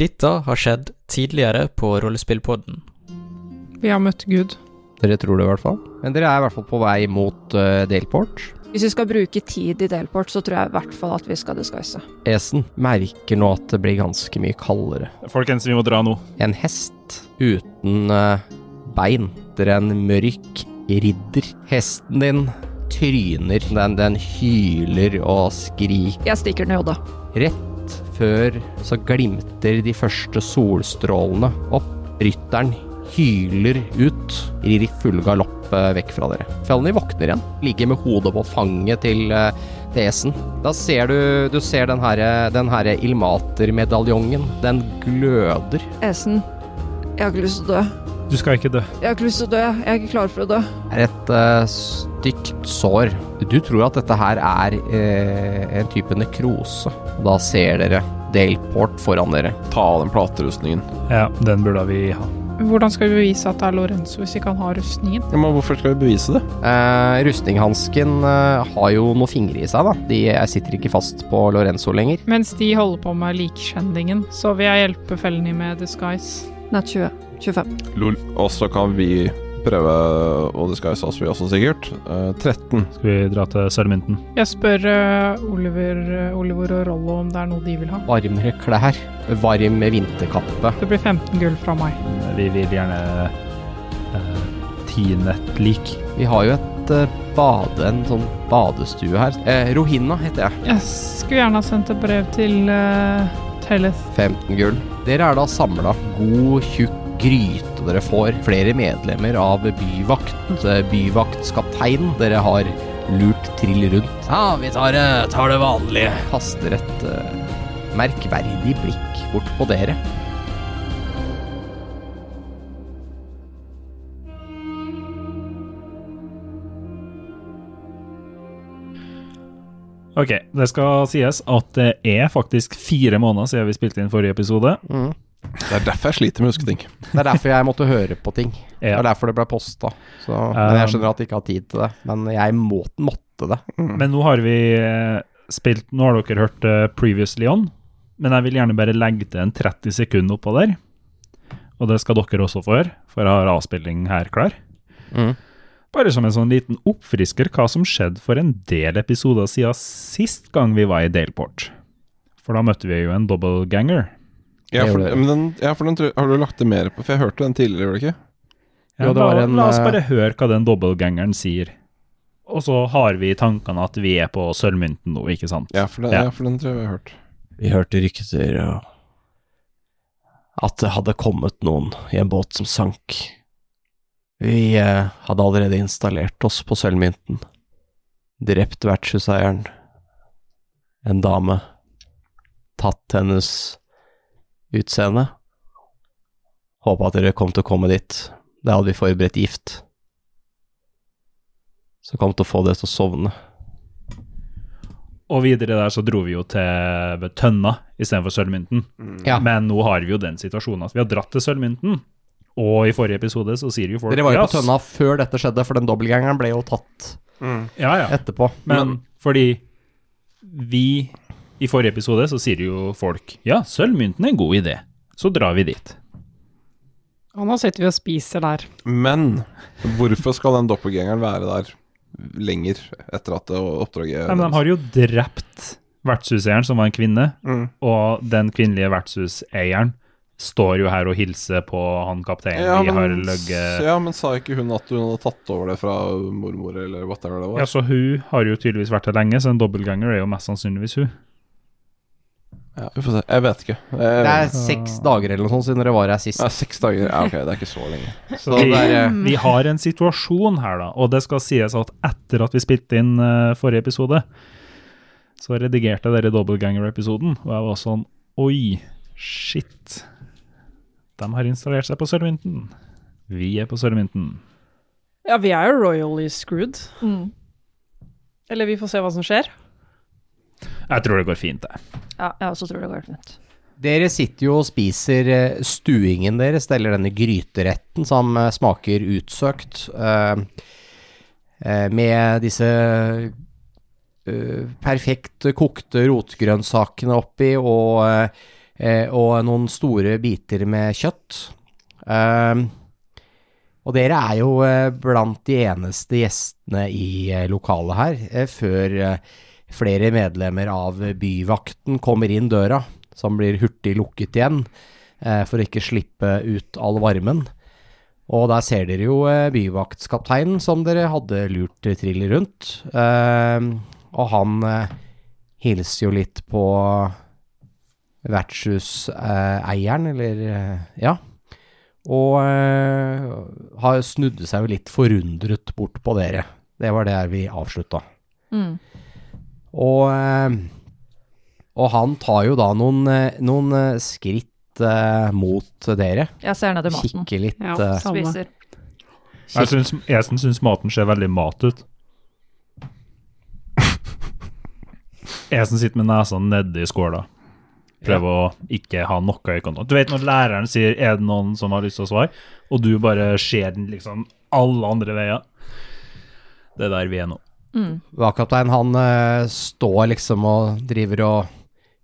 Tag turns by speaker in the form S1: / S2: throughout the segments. S1: Dette har skjedd tidligere på Rollespillpodden.
S2: Vi har møtt Gud.
S3: Dere tror det i hvert fall. Men dere er i hvert fall på vei mot eh, Delport.
S4: Hvis vi skal bruke tid i Delport, så tror jeg i hvert fall at vi skal disguise.
S3: Esen merker nå at det blir ganske mye kaldere.
S5: Folkens, vi må dra nå.
S3: En hest uten eh, bein. Dere er en mørk ridder. Hesten din tryner. Den, den hyler og skriker.
S4: Jeg stikker den i hodet.
S3: Rett før så glimter de første solstrålene opp. Rytteren hyler ut, rir i full galopp eh, vekk fra dere. Felny våkner igjen, ligger med hodet på fanget til eh, til Esen. Da ser du, du ser den her, den her Ilmater-medaljongen. Den gløder.
S4: Esen, jeg har ikke lyst til å dø.
S5: Du skal ikke dø.
S4: Jeg har ikke lyst til å dø. Jeg er ikke klar for å dø.
S3: Det er et eh, stygt sår. Du tror at dette her er eh, en type nekrose. Da ser dere Delport foran dere.
S6: Ta av den platerustningen.
S5: Ja, den burde vi ha.
S2: Hvordan skal vi bevise at det er Lorenzo hvis ikke han har rustningen?
S6: Ja, men hvorfor skal vi bevise det?
S3: Eh, rustninghansken eh, har jo noen fingre i seg, da. De eh, sitter ikke fast på Lorenzo lenger.
S2: Mens de holder på med likskjendingen, så vil jeg hjelpe Felny med disguise.
S4: Nei, 20. 25.
S6: Lol. Og så kan vi prøve å disguise oss, vi også, sikkert. Eh, 13.
S5: Skal vi dra til Sørmynten?
S2: Jeg spør eh, Oliver, eh, Oliver og Rollo om det er noe de vil ha.
S3: Varmere klær, varm vinterkappe.
S2: Det blir 15 gull fra meg.
S5: Vi vil gjerne eh, tine et lik.
S3: Vi har jo et eh, bade, en sånn badestue her. Eh, Rohina heter jeg.
S2: Jeg skulle gjerne ha sendt et brev til uh, Telleth.
S3: 15 gull. Dere er da samla. God, tjukk gryte dere får. Flere medlemmer av byvakt, eh, byvaktskaptein. Dere har lurt trill rundt. Ja, vi tar, eh, tar det vanlige. Kaster et eh, merkverdig blikk bort på dere.
S5: Ok, det skal sies at det er faktisk fire måneder siden vi spilte inn forrige episode.
S6: Det er derfor jeg sliter med å huske ting.
S3: Det er derfor jeg måtte høre på ting. Det
S5: Ja.
S3: er derfor det ble posta. Så- Men jeg skjønner at jeg ikke har tid til det. Men jeg må, måtte det.
S5: Men nå har vi eh, spilt Nå har dere hørt eh, Previously On, men jeg vil gjerne bare legge til en 30 sekunder oppå der. Og det skal dere også få høre, for jeg har avspilling her klar.
S3: Mm.
S5: Bare som en sånn liten oppfrisker hva som skjedde for en del episoder siden sist gang vi var i Delport. For da møtte vi jo en dobbeltganger.
S6: Ja,
S3: Det
S6: for,
S3: gjorde jeg.
S6: men den, ja, for den tror, har du lagt det mer på? For jeg hørte den tidligere, gjorde du ikke?
S5: Ja,
S3: Jo, det
S5: la,
S3: var en,
S5: la oss
S3: eh,
S5: bare høre hva den dobbeltgangeren sier. Og så har vi i tankene at vi er på Sølvmynten nå, ikke sant?
S6: Ja, for den,
S5: Ja.
S6: ja. for den tror jeg vi har hørt.
S7: Vi hørte rykter og at det hadde kommet noen i en båt som sank. Vi eh, hadde allerede installert oss på Sølvmynten. Drept vertshuseieren. En dame. Tatt hennes utseende. Håpa at dere kom til å komme dit. Da hadde vi forberedt gift. Så kom til å få dere til å sovne.
S5: Og videre der så dro vi jo til Tønna istedenfor Sølvmynten.
S6: Mm.
S3: Ja.
S5: Men nå har vi jo den situasjonen at vi har dratt til Sølvmynten, og i forrige episode så sier jo folk
S3: Dere var jo
S5: «Ja,
S3: på Tønna før dette skjedde, for den dobbeltgangeren ble jo tatt
S6: Mm.
S5: Ja, ja.
S3: etterpå.
S5: Men fordi vi I forrige episode så sier jo folk Ja, Sølvmynten er en god idé. Så drar vi dit.
S2: Og nå sitter vi og spiser der.
S6: Men hvorfor skal den doppelgangeren være der lenger etter at det oppdraget
S5: Nei, men de har jo drept vertshuseieren, som var en kvinne,
S6: Mm.
S5: og den kvinnelige vertshuseieren står jo her og hilser på han kapteinen
S6: ja,
S5: vi har
S6: men,
S5: løgget
S6: ja, men sa ikke hun at hun hadde tatt over det fra mormor eller whatever det
S5: Ja,
S6: var?
S5: så hun har jo tydeligvis vært her lenge, så en dobbeltganger er jo mest sannsynligvis hun.
S6: Ja, vi får se. Jeg vet ikke. Jeg,
S3: Det er seks dager eller noe sånt siden dere var her sist.
S6: Ja, seks dager. Ja, ok, det er ikke så lenge.
S5: Så
S3: det
S5: vi,
S3: er, eh,
S5: vi har en situasjon her, da, og det skal sies at etter at vi spilte inn eh, forrige episode, så redigerte dere dobbeltganger-episoden, og jeg var sånn Oi, shit. De har installert seg på Sørmynten. Vi er på Sørmynten.
S8: Ja, vi er jo royally screwed.
S4: Mm.
S8: Eller vi får se hva som skjer.
S5: Jeg tror det går fint, det.
S4: Ja, jeg også tror det går fint.
S3: Dere sitter jo og spiser eh, stuingen deres, eller denne gryteretten som eh, smaker utsøkt, eh, eh, med disse eh, perfekt kokte rotgrønnsakene oppi, og eh, eh, og noen store biter med kjøtt. Ehm, og dere er jo eh, blant de eneste gjestene i eh, lokalet her, eh, før eh, flere medlemmer av byvakten kommer inn døra, som blir hurtig lukket igjen, eh, for å ikke slippe ut all varmen. Og der ser dere jo eh, byvaktskapteinen som dere hadde lurt eh, trill rundt, Ehm, og han eh, hilser jo litt på vertshuseieren, eller eh, ja, og eh, har snudde seg jo litt forundret bort på dere. Det var der vi avslutta.
S4: Mm.
S3: Og, eh, og han tar jo da noen, eh, noen eh, skritt eh, mot dere.
S4: Jeg ser ned i maten.
S3: Kikker litt.
S2: Ja,
S3: eh,
S2: samme.
S4: Spiser.
S5: Jeg syns, jeg syns maten ser veldig mat ut. Jeg som sitter med nesa nedi skåla. Prøver å ikke ha noe øyekontakt. Du vet når læreren sier 'er det noen som har lyst til å svare', og du bare ser den liksom alle andre veier. Det er der vi er nå.
S3: Vaktkaptein, han eh, står liksom og driver og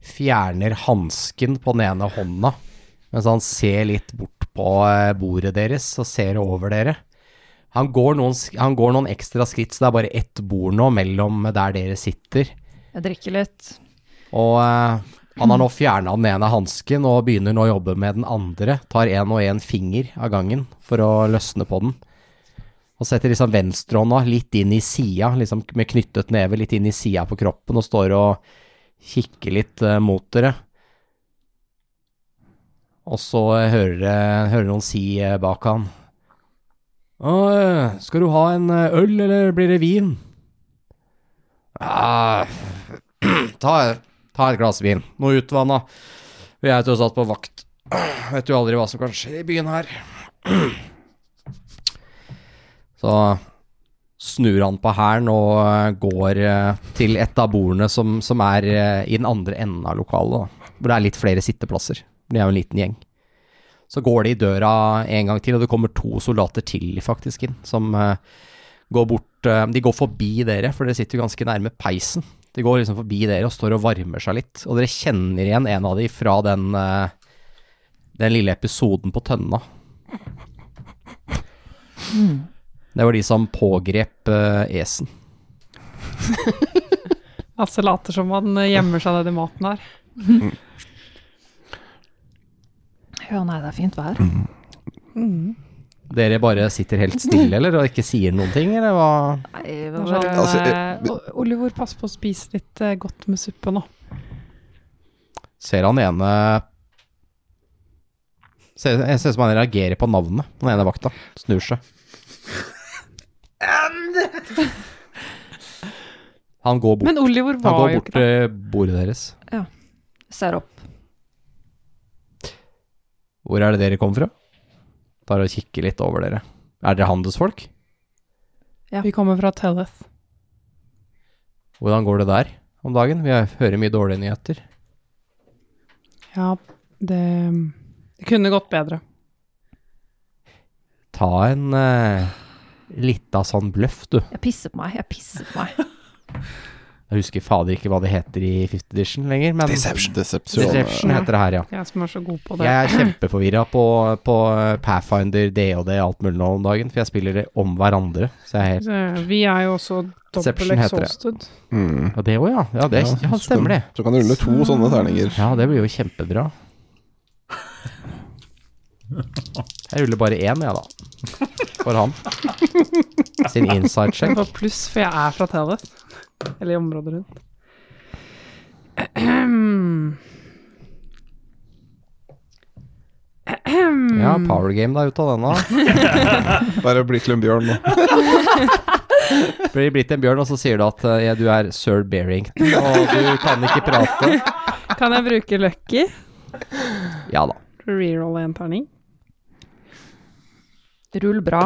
S3: fjerner hansken på den ene hånda, mens han ser litt bort på eh, bordet deres og ser over dere. Han går, noen, sk- han går noen ekstra skritt, så det er bare ett bord nå mellom der dere sitter.
S4: Jeg drikker litt.
S3: Og eh, han har nå fjerna den ene hansken og begynner nå å jobbe med den andre. Tar én og én finger av gangen for å løsne på den. Og setter liksom venstrehånda litt inn i sida, liksom med knyttet neve litt inn i sida på kroppen, og står og kikker litt eh, mot dere. Og så eh, hører, dere- hører noen si eh, bak han «Å, eh, Skal du ha en eh, øl, eller blir det vin? Ah, ta, ta et glass vin. Noe utvanna. Vi er tross alt på vakt. Vet jo aldri hva som kan skje i byen her. Så snur han på hælen og eh, går eh, til et av bordene som, som er eh, i den andre enden av lokalet, da, hvor det er litt flere sitteplasser. Det er jo en liten gjeng. Så går de i døra en gang til, og det kommer to soldater til faktisk inn, som eh, går bort eh, De går forbi dere, for dere sitter jo ganske nærme peisen. De går liksom forbi dere og står og varmer seg litt. Og dere kjenner igjen en av de fra den, eh, den lille episoden på Tønna. Det var de som pågrep eh, Esen.
S2: Asse later som han eh, gjemmer seg nedi maten her.
S4: Ja, nei, det er fint vær.
S3: Dere bare sitter helt stille, eller? Og ikke sier noen ting, eller hva?
S4: Nei,
S2: Det
S4: det
S2: er
S4: var,
S2: Sånn,
S6: Altså, jeg-
S2: eh, O- Oliver, pass på å spise litt eh, godt med suppe nå.
S3: Ser han ene Ser jeg ser ut som han reagerer på navnet. Den ene vakta snur seg. Han går bort,
S2: Men Oliver
S3: han
S2: var
S3: går
S2: jo
S3: bort
S2: ikke der.
S3: til bordet deres.
S4: ser opp.
S3: Hvor er det dere kommer fra? Tar og kikker litt over dere. Er dere handelsfolk?
S4: Ja.
S2: Vi kommer fra Telleth.
S3: Hvordan går det der om dagen? Vi hører mye dårlige nyheter.
S2: Ja, det, det kunne gått bedre.
S3: Ta en uh, lita sånn bløff, du.
S4: Jeg pisser på meg. Jeg pisser på meg.
S3: Jeg husker fader ikke hva det heter i fifth edition lenger, men
S6: Deception.
S3: Deception heter det her, ja.
S2: Jeg som er så god på det.
S3: Jeg er kjempeforvirra på, på Pathfinder, DOD, alt mulig nå om dagen, for jeg spiller det om hverandere. Så jeg er helt
S2: Eh, Vi er jo også dobbel
S3: Deception heter det.
S2: exhausted.
S6: Mm.
S3: Ja, det òg, ja. Ja, det ja, stemmer det.
S6: Så kan du rulle
S9: Mm.
S6: to sånne terninger.
S3: Ja, det blir jo kjempebra. Jeg ruller bare én, jeg, da. For han. Sin inside
S2: Det
S3: check.
S2: var pluss, for jeg er fra Telleth. Eller i området rundt.
S3: Ja, power game da, ut av denne.
S6: Bare bli til en bjørn nå.
S3: Blir blitt en bjørn, og så sier du at eh, ja, du er sir Barrington, og du kan ikke prate.
S2: Kan jeg bruke lucky?
S3: Ja da.
S2: Reroll en terning.
S4: Rull bra.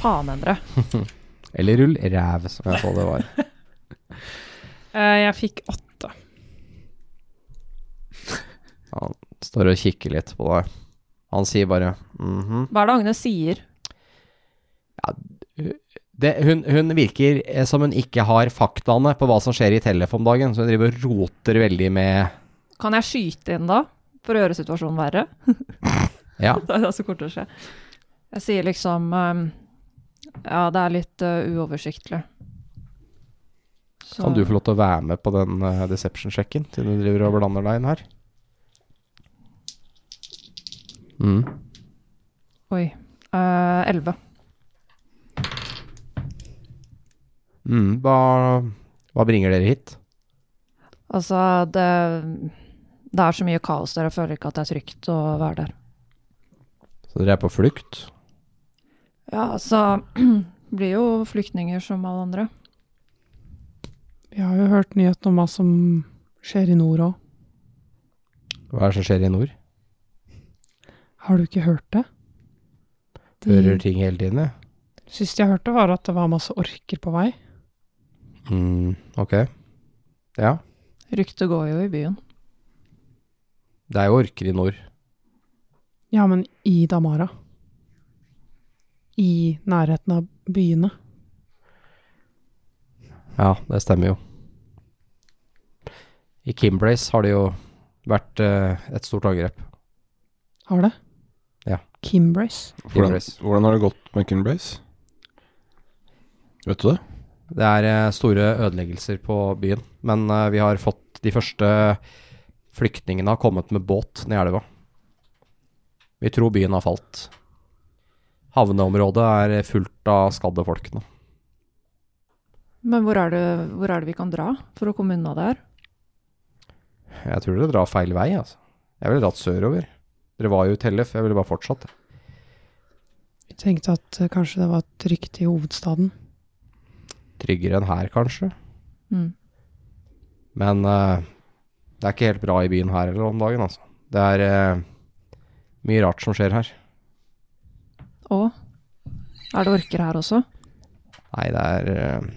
S4: Faen, Endre.
S3: Eller rull ræv, som jeg så det var.
S2: Eh, Jeg fikk åtte.
S3: Han står og kikker litt på deg. Han sier bare mhm.
S4: Hva er det Agnes sier?
S3: det, hun, hun virker eh, som hun ikke har faktaene på hva som skjer i Tellef om dagen, så hun driver og roter veldig med
S4: Kan jeg skyte inn da? for å gjøre situasjonen verre.
S3: Ja.
S4: Det er det som kommer til å skje. Jeg sier liksom ehm, Ja, det er litt eh, uoversiktlig. Så-
S3: Kan du få lov til å være med på den eh, deception-sjekken til du driver og blander deg inn her? Mm.
S4: Oi. eh, Elleve.
S3: Mm. Hva, hva bringer dere hit?
S4: altså, det Det er så mye kaos der, jeg føler ikke at det er trygt å være der.
S3: Så dere er på flukt?
S4: Ja, altså Blir jo flyktninger som alle andre.
S9: Vi har jo hørt nyheten om hva som skjer i nord òg.
S3: Hva er det som skjer i nord?
S9: Har du ikke hørt det? De
S3: Hører ting hele tiden, ja.
S9: siste jeg hørte, var at det var masse orker på vei.
S3: Mm. Ok. Ja.
S4: Ryktet går jo i byen.
S3: Det er jo orker i nord.
S9: Ja, men i Damara. I nærheten av byene.
S3: Ja, det stemmer jo. I Kimbrace har det jo vært eh, et stort angrep.
S9: Har det?
S3: Ja.
S9: Kimbrace.
S6: Hvordan,
S3: Kimbrace.
S6: hvordan har det gått med Kimbrace? Vet du det?
S3: Det er eh, store ødeleggelser på byen, men eh, vi har fått de første flyktningene har kommet med båt ned elva. Vi tror byen har falt. Havneområdet er fullt av skadde folk nå.
S4: Men hvor er, det, hvor er det vi kan dra for å komme unna det her?
S3: Jeg tror dere drar feil vei, altså. Jeg ville dratt sørover. Dere var jo i Tellef, jeg ville bare fortsatt.
S9: Vi tenkte at eh, kanskje det var trygt i hovedstaden.
S3: Tryggere enn her, kanskje.
S4: Mm.
S3: Men eh, det er ikke helt bra i byen her heller om dagen, altså. Det er eh, mye rart som skjer her.
S4: Og er det orker her også?
S3: Nei, det er eh,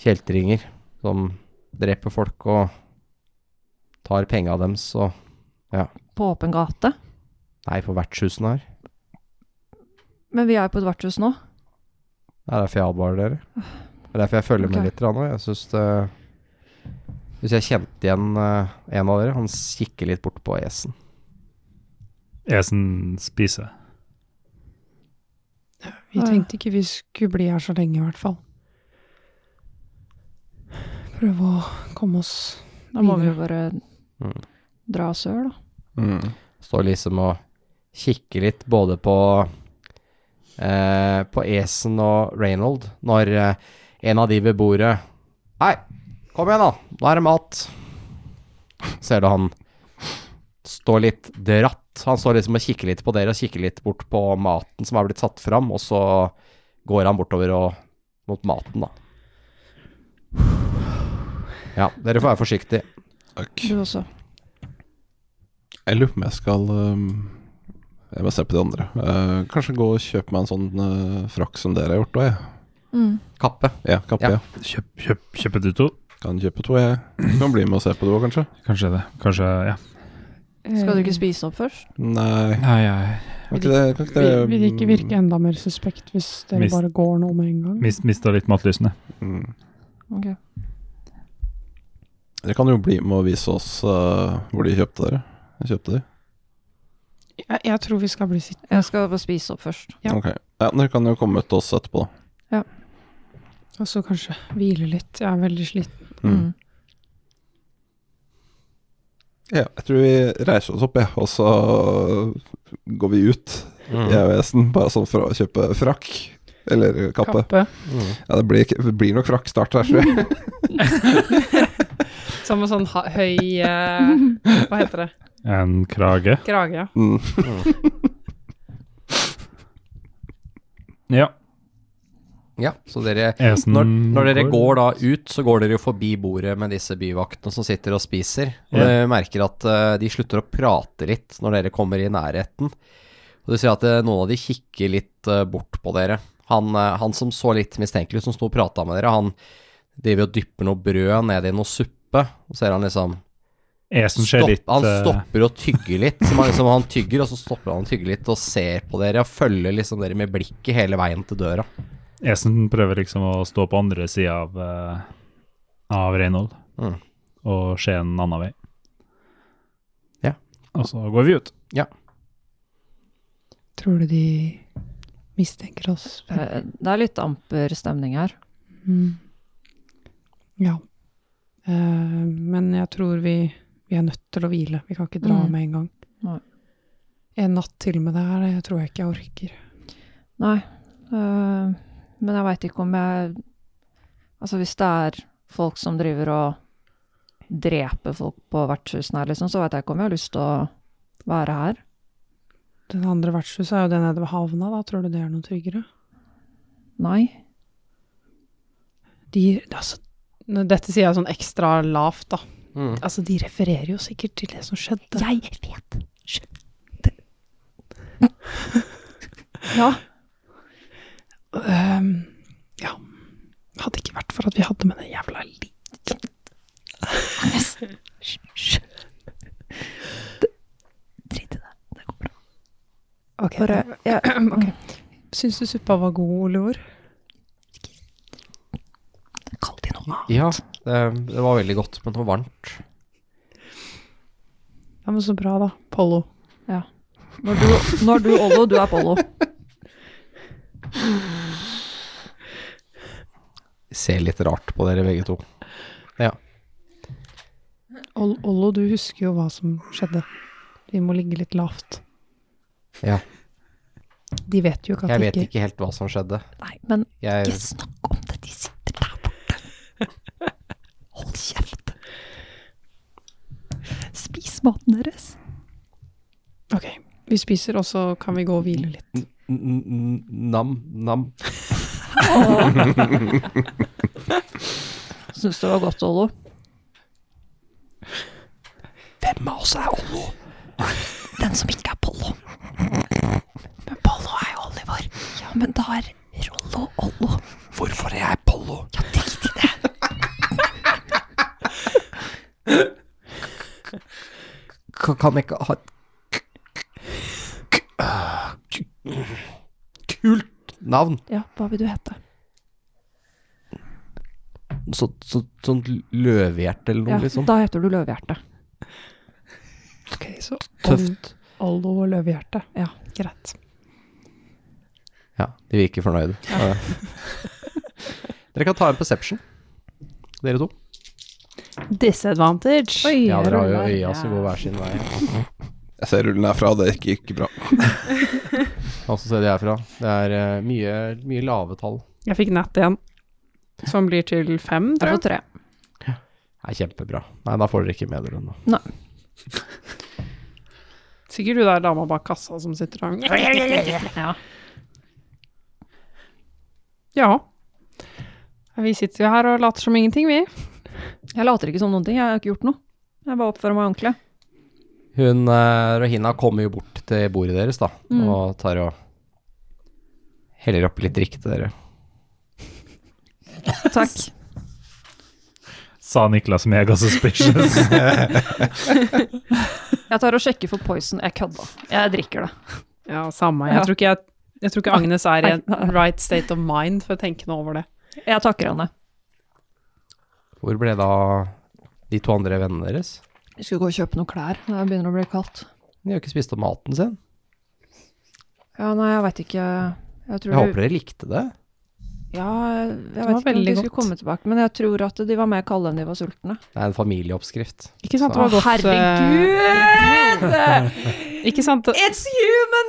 S3: kjeltringer som dreper folk og tar penga deres og
S4: På åpen gate?
S3: Nei, på vertshusene her.
S4: Men vi er på et vertshus nå.
S3: Det er derfor jeg advarer dere. Det er derfor jeg følger
S4: Ok.
S3: med litt nå. Jeg syns det Hvis jeg kjente igjen eh, en av dere, han kikker litt bort på esen.
S5: Esen spiser.
S9: Vi
S4: Ah, ja.
S9: tenkte ikke vi skulle bli her så lenge, i hvert fall. Prøve å komme oss
S4: Da må
S9: videre.
S4: vi jo bare
S3: Mm.
S4: dra sør, da.
S6: Mm.
S3: Står liksom og kikker litt både på eh, På Esen og Reynold når eh, en av de ved bordet Hei, kom igjen, da! Nå er det mat! Ser du han står litt dratt. Han står liksom og kikker litt på dere og kikker litt bort på maten som er blitt satt fram, og så går han bortover og mot maten, da. Ja, dere får være forsiktige.
S6: Takk.
S4: Du også.
S6: Jeg lurer på om jeg skal øhm, Jeg må se på de andre. Eh, kanskje gå og kjøpe meg en sånn eh, frakk som dere har gjort òg, jeg.
S4: Mm.
S3: Kappe.
S6: Ja, kappe,
S3: Ja.
S6: ja.
S5: Kjøp, kjøp, kjøpe du to.
S6: Kan kjøpe to, jeg. Du Kan bli med og se på det òg, kanskje.
S5: Kanskje det. Kanskje, ja.
S9: eh,
S4: Skal du ikke spise opp først?
S6: Nei,
S5: Nei, jeg
S6: kan ikke det, kan ikke det
S9: Vil, vil det ikke
S6: mm.
S9: virke enda mer suspekt hvis dere
S5: Mist-
S9: bare går nå med en gang?
S5: mist, mista litt matlysene.
S6: Mm.
S4: Ok.
S6: Dere kan jo bli med og vise oss eh, hvor de kjøpte dere. Jeg kjøpte de.
S9: Jeg, jeg tror vi skal bli sittende.
S4: Jeg skal bare spise opp først.
S9: Ja.
S6: Ok. Ja, dere kan jo komme til oss etterpå, da.
S9: Og så altså kanskje hvile litt. Jeg er veldig sliten.
S4: Mm.
S6: Ja, jeg tror vi reiser oss opp, jeg, og så går vi ut. Jeg og Esen, bare sånn for å kjøpe frakk. Eller kappe.
S9: Kappe.
S3: Mm.
S6: Ja, det blir, det blir nok frakk snart her, tror jeg.
S8: Som en sånn ha- høy eh, Hva heter det?
S5: En krage.
S8: Krage, ja.
S6: Mm.
S5: Ja.
S3: Ja, så dere
S5: Esen
S3: Når, når dere går da ut, så går dere jo forbi bordet med disse byvaktene som sitter og spiser. Og
S5: Ja.
S3: dere merker at eh, de slutter å prate litt når dere kommer i nærheten. Og du ser at eh, noen av de kikker litt eh, bort på dere. Han, eh, han som så litt mistenkelig ut, som sto og prata med dere, han driver og dypper noe brød ned i noe suppe. Og ser han liksom
S5: Esen ser
S3: Stopp-
S5: litt
S3: Han
S5: eh,
S3: stopper og tygger litt. Som han, liksom, han tygger, og så stopper han og tygger litt og ser på dere og følger liksom dere med blikket hele veien til døra.
S5: Esen prøver liksom å stå på andre sida av, eh, av Reynold
S3: Mm.
S5: og se en annen vei.
S3: Ja.
S5: Og så går vi ut.
S9: Tror du de mistenker oss?
S4: Eh, Det er litt amper stemning her.
S9: Mm. Ja. Eh, men jeg tror vi, vi er nødt til å hvile. Vi kan ikke dra
S4: Mm.
S9: med en gang.
S4: Nei.
S9: En natt til med det her, det tror jeg ikke jeg orker.
S4: Nei. øh, men jeg veit ikke om jeg Altså, hvis det er folk som driver og dreper folk på vertshusene her, liksom, så veit jeg ikke om jeg har lyst til å være her.
S9: Det andre vertshuset er jo det nede ved havna, da. Tror du det er noe tryggere?
S4: Nei.
S9: De, altså, nå- dette sier jeg sånn ekstra lavt, da.
S3: Mm.
S9: Altså, de refererer jo sikkert til det som skjedde.
S4: Jeg vet. ja.
S9: Ehm, ja. Hadde ikke vært for at vi hadde med den jævla li...
S4: Drit i det. Det går bra.
S9: Ok.
S4: Bare jeg,
S9: ok. Syns du suppa var god, Oliver?
S4: Kall de noe annet.
S3: Ja, det, det var veldig godt, men det var varmt.
S9: Ja, men så bra, da. Pollo.
S4: Når du, når du Ollo, du er Pollo.
S3: Ser litt rart på dere begge to.
S9: Ol Ollo, du husker jo hva som skjedde. Vi må ligge litt lavt.
S3: Ja.
S9: De vet jo ikke at
S3: Jeg
S9: de
S3: vet ikke helt hva som skjedde.
S4: Nei, men
S3: Jeg,
S4: ikke snakk om det. De sitter der borte. Hold kjeft. Spis maten deres.
S9: Ok, vi spiser, og så kan vi gå og hvile litt.
S3: N- n- n- Nam, nam.
S4: Syns det var godt, Ollo.
S7: Hvem av oss er Ollo?
S4: Den som ikke er Pollo. Men Pollo er jo Oliver. Ja, men da er Rollo Ollo.
S7: Hvorfor er jeg Pollo?
S4: Ja, drit i det.
S3: Ka- Kan jeg ikke ha Kult navn!
S4: Ja, hva vil du hete?
S3: Så, så, sånn løvehjerte eller noe,
S4: Ja,
S3: liksom.
S4: da heter du Løvehjerte.
S9: Ok, så
S3: Tøft.
S9: Ollo og løvehjerte.
S4: Ja.
S9: greit.
S3: Ja, de virker fornøyde. dere kan ta en perception, dere to.
S9: Disadvantage. Oi.
S3: Ja, dere har jo øya som går hver sin vei.
S6: Jeg ser rullen herfra, det gikk ikke bra.
S3: Og så ser de herfra. Det er eh, mye, mye lave tall.
S9: Jeg fikk natt igjen, som blir til fem,
S4: Jeg
S9: tror jeg.
S4: får tre.
S3: Det er kjempebra. Nei, da får dere ikke med dere noe.
S9: Sikkert du der dama bak kassa som sitter der. Ja. ja. Vi sitter jo her og later som ingenting, vi.
S4: Jeg later ikke som noen ting. Jeg har ikke gjort noe. Jeg bare oppfører meg ordentlig.
S3: Hun eh, Rohina kommer jo bort til bordet deres, da,
S4: Mm.
S3: og tar og heller oppi litt drikke til dere.
S4: Takk.
S5: Sa Niklas mega suspicious.
S4: Jeg tar og sjekker for poison. Jeg kødda. Jeg drikker det.
S9: Ja, samme. Jeg
S4: Ja.
S9: tror ikke, jeg, jeg tror ikke Agnes er i
S4: Nei.
S9: en right state of mind for å tenke noe over det.
S4: Jeg takker henne.
S3: Hvor ble da de to andre vennene deres?
S4: Vi skulle gå og kjøpe noen klær. Det begynner å bli kaldt.
S3: De har ikke spist opp maten sin.
S4: Ja, nei, jeg veit ikke. Jeg tror
S3: Jeg håper dere likte det.
S4: Ja,
S9: var
S4: jeg vet ikke om de
S9: veldig
S4: skulle
S9: godt.
S4: komme tilbake, men jeg tror at de var mer kalde enn de var sultne.
S3: Det er en familieoppskrift.
S9: Ikke sant, det
S3: Så-
S9: var godt. eh,
S4: Herregud!
S9: Ikke sant, det-
S4: It's human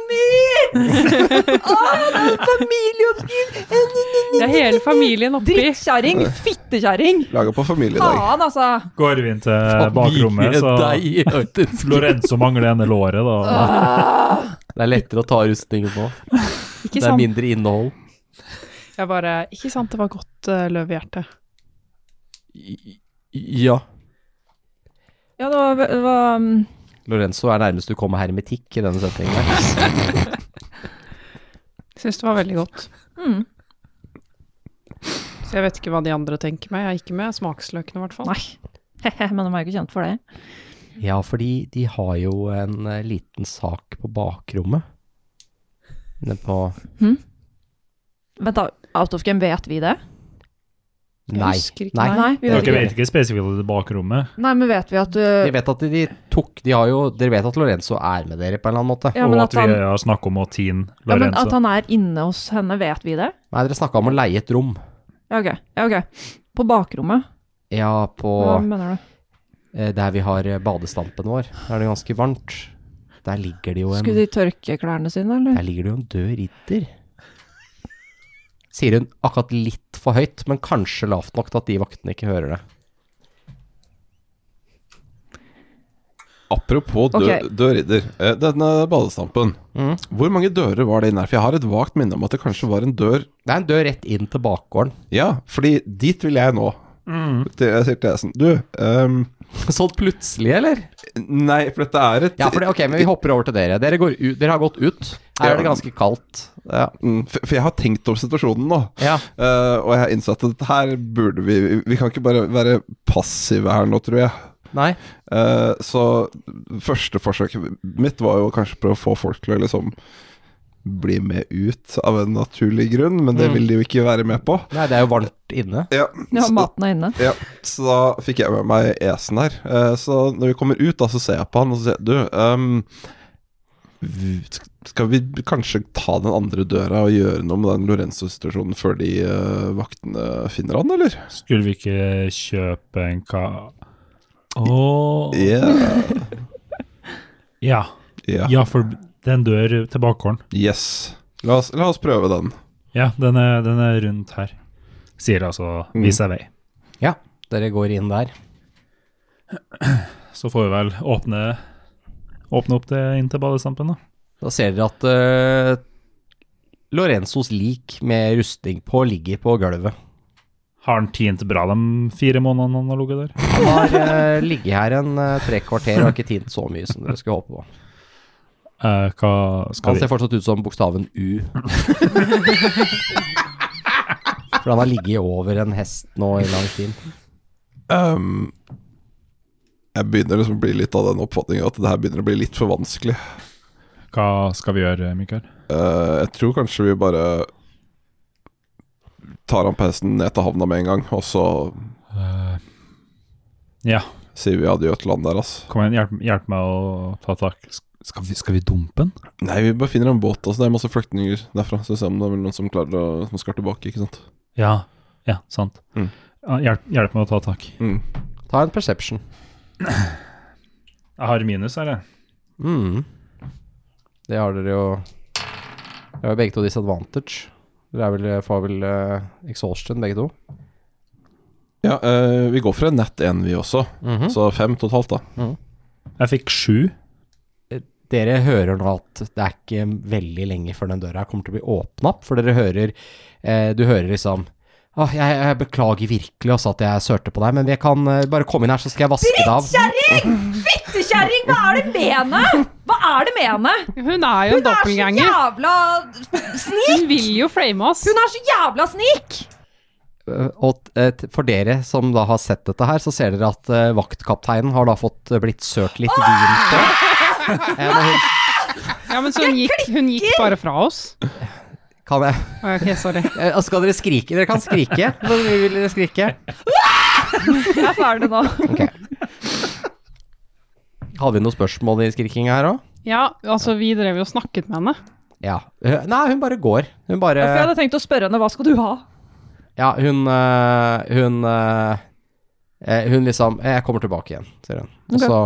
S4: meat! Å, det er familieoppskrift!
S9: det er hele familien oppi.
S4: Drittkjerring! Fittekjerring!
S6: Laga på familiedag.
S4: Faen, altså!
S5: Går vi inn til Eh, bakrommet, så Lorenzo mangler ene låret, da.
S3: Det er lettere å ta rustningen nå.
S9: Ikke
S3: Det er
S9: sant,
S3: mindre innhold.
S9: jeg bare, ikke sant det var godt eh, løvehjerte.
S3: Ja.
S4: Ja, det var, det var um,
S3: Lorenzo er nærmest du kommer hermetikk i denne setningen. her.
S9: Syns det var veldig godt.
S4: mm,
S9: Så jeg vet ikke hva de andre tenker med. Jeg er ikke med smaksløkene, i hvert fall.
S4: Nei. Hehe, men de er jo ikke kjent for det.
S3: Ja, fordi de har jo en eh, liten sak på bakrommet. Inne på
S4: Vent da, Out of Game, vet vi det?
S9: Jeg
S3: Nei.
S9: husker ikke.
S3: Nei.
S4: Nei, vi vet
S5: Dere
S4: ikke.
S5: vet ikke spesifikt det bakrommet.
S4: Nei, men vet vi at eh, du
S3: De vet at de tok De har jo Dere vet at Lorenzo er med dere på en eller annen måte?
S4: Ja,
S5: og
S4: men
S5: at,
S4: at han,
S5: vi har snakket om å tine
S4: ja, men at
S5: Lorenzo.
S4: han er inne hos henne, vet vi det?
S3: Nei, dere snakka om å leie et rom.
S4: Ja, ok. Ja, ok. På bakrommet,
S3: Ja, på
S4: hva mener du?
S3: eh, der vi har eh, badestampen vår. Der er det ganske varmt. Der ligger det jo en
S4: Skulle de tørke klærne sine, eller?
S3: Der ligger det jo en død ridder. Sier hun akkurat litt for høyt, men kanskje lavt nok til at de vaktene ikke hører det.
S6: Apropos dø
S4: Ok.
S6: dørridder. Eh, Denne badestampen, hvor mange dører var det inn her? For jeg har et vagt minne om at det kanskje var en dør
S3: Det er en dør rett inn til bakgården.
S6: Ja, fordi dit vil jeg nå. Til, jeg sier til Esen Du, ehm,
S3: Sånn plutselig, eller?
S6: nei, for dette er et
S3: Ja, for det, ok, men vi hopper over til dere. Dere, går ut, dere har gått ut. Her er det ganske kaldt. Ja.
S6: Mm, for, for jeg har tenkt om situasjonen nå,
S3: Ja.
S6: eh, og jeg har innsett at her burde vi Vi kan ikke bare være passive her nå, tror jeg.
S3: Nei?
S6: Eh, så første forsøket mitt var jo kanskje prøve å få folk til å liksom bli med ut av en naturlig grunn, men det
S3: Mm.
S6: vil de jo ikke være med på.
S3: Nei, det er jo varmt inne.
S6: Ja,
S4: Ja,
S6: så,
S4: maten er inne.
S6: ja, så da fikk jeg med meg Esen her. Eh, så når vi kommer ut, da, så ser jeg på han og så sier jeg, Du, ehm, vi- skal vi kanskje ta den andre døra og gjøre noe med den Lorenzo-situasjonen før de eh, vaktene finner han, eller?
S5: Skulle vi ikke kjøpe en ka... Å
S6: Yeah.
S5: ja.
S6: yeah.
S5: ja, for det er en dør til bakgården.
S6: Yes. La oss, la oss prøve den.
S5: Ja, den er, den er rundt her. Sier altså vis deg vei.
S3: Ja, dere går inn der.
S5: Så får vi vel åpne, åpne opp det inn til badestampen, da.
S3: Da ser dere at eh, Lorenzos lik med rustning på ligger på gulvet.
S5: Har han tint bra de fire månedene han har ligget der?
S3: Han har eh, ligget her en eh, tre kvarter og har ikke tint så mye som dere skulle håpe på.
S5: Eh, hva skal
S3: Han
S5: vi
S3: ser fortsatt ut som bokstaven U. For han har ligget over en hest nå i lang tid.
S6: Ehm, jeg begynner liksom å bli litt av den oppfatningen at det her begynner å bli litt for vanskelig.
S5: Hva skal vi gjøre, Mikael?
S6: Eh, jeg tror kanskje vi bare tar han på hesten ned til havna med en gang, og så
S5: Eh, Ja,
S6: sier vi adjø til han der, altså.
S5: kom igjen, hjelp, hjelp meg å ta tak. S- Skal vi, skal vi dumpe den?
S6: Nei, vi bare finner en båt, altså. Det er masse flyktninger derfra. Så vi ser om det er vel noen som klarer å som skal tilbake, ikke sant.
S5: Ja, ja, sant.
S6: Mm.
S5: Ja, Hjelp, hjelp meg å ta tak.
S6: Mm.
S3: Ta en perception.
S5: Jeg har minus her, jeg.
S3: Mm. Det har dere jo Dere har jo begge to disadvantage. Dere er vel, får vel eh, exhaustion, begge to.
S6: Ja, eh, vi går for en nett én, vi også.
S3: Mhm.
S6: Så fem totalt, da.
S5: Jeg fikk sju.
S3: Dere hører nå at det er ikke veldig lenge før den døra her kommer til å bli åpna opp, for dere hører eh, Du hører liksom Åh, jeg, jeg beklager virkelig også at jeg sørte på deg, men jeg kan eh, bare komme inn her, så skal jeg vaske det av.
S10: Kjerring! Fittekjerring! Hva er det med henne? Hva er det med henne?
S9: Hun er
S10: Hun er
S9: jo en
S10: så
S9: doppelganger.
S10: jævla snik!
S9: Hun vil jo frame oss.
S10: Hun er så jævla snik!
S3: Eh, Og eh, t- for dere som da har sett dette her, så ser dere at eh, vaktkapteinen har da fått eh, blitt sølt litt vin på. Eh, men hun,
S9: Ja, men så hun gikk, hun gikk bare fra oss.
S3: kan jeg
S9: Å, Ok, sorry.
S3: Eh, og Skal dere skrike? Dere kan skrike. Hvor mye vil dere skrike?
S10: Jeg er ferdig nå.
S3: Ok. Hadde vi noen spørsmål i skrikinga her òg?
S9: Ja, altså, vi drev jo og snakket med henne.
S3: Ja. Eh, Nei, hun bare går. Hun bare
S4: For jeg hadde tenkt å spørre henne, hva skal du ha?
S3: Ja, hun øh, Hun øh, eh, Hun liksom eh, Jeg kommer tilbake igjen, sier hun. Og
S4: Ok.
S3: så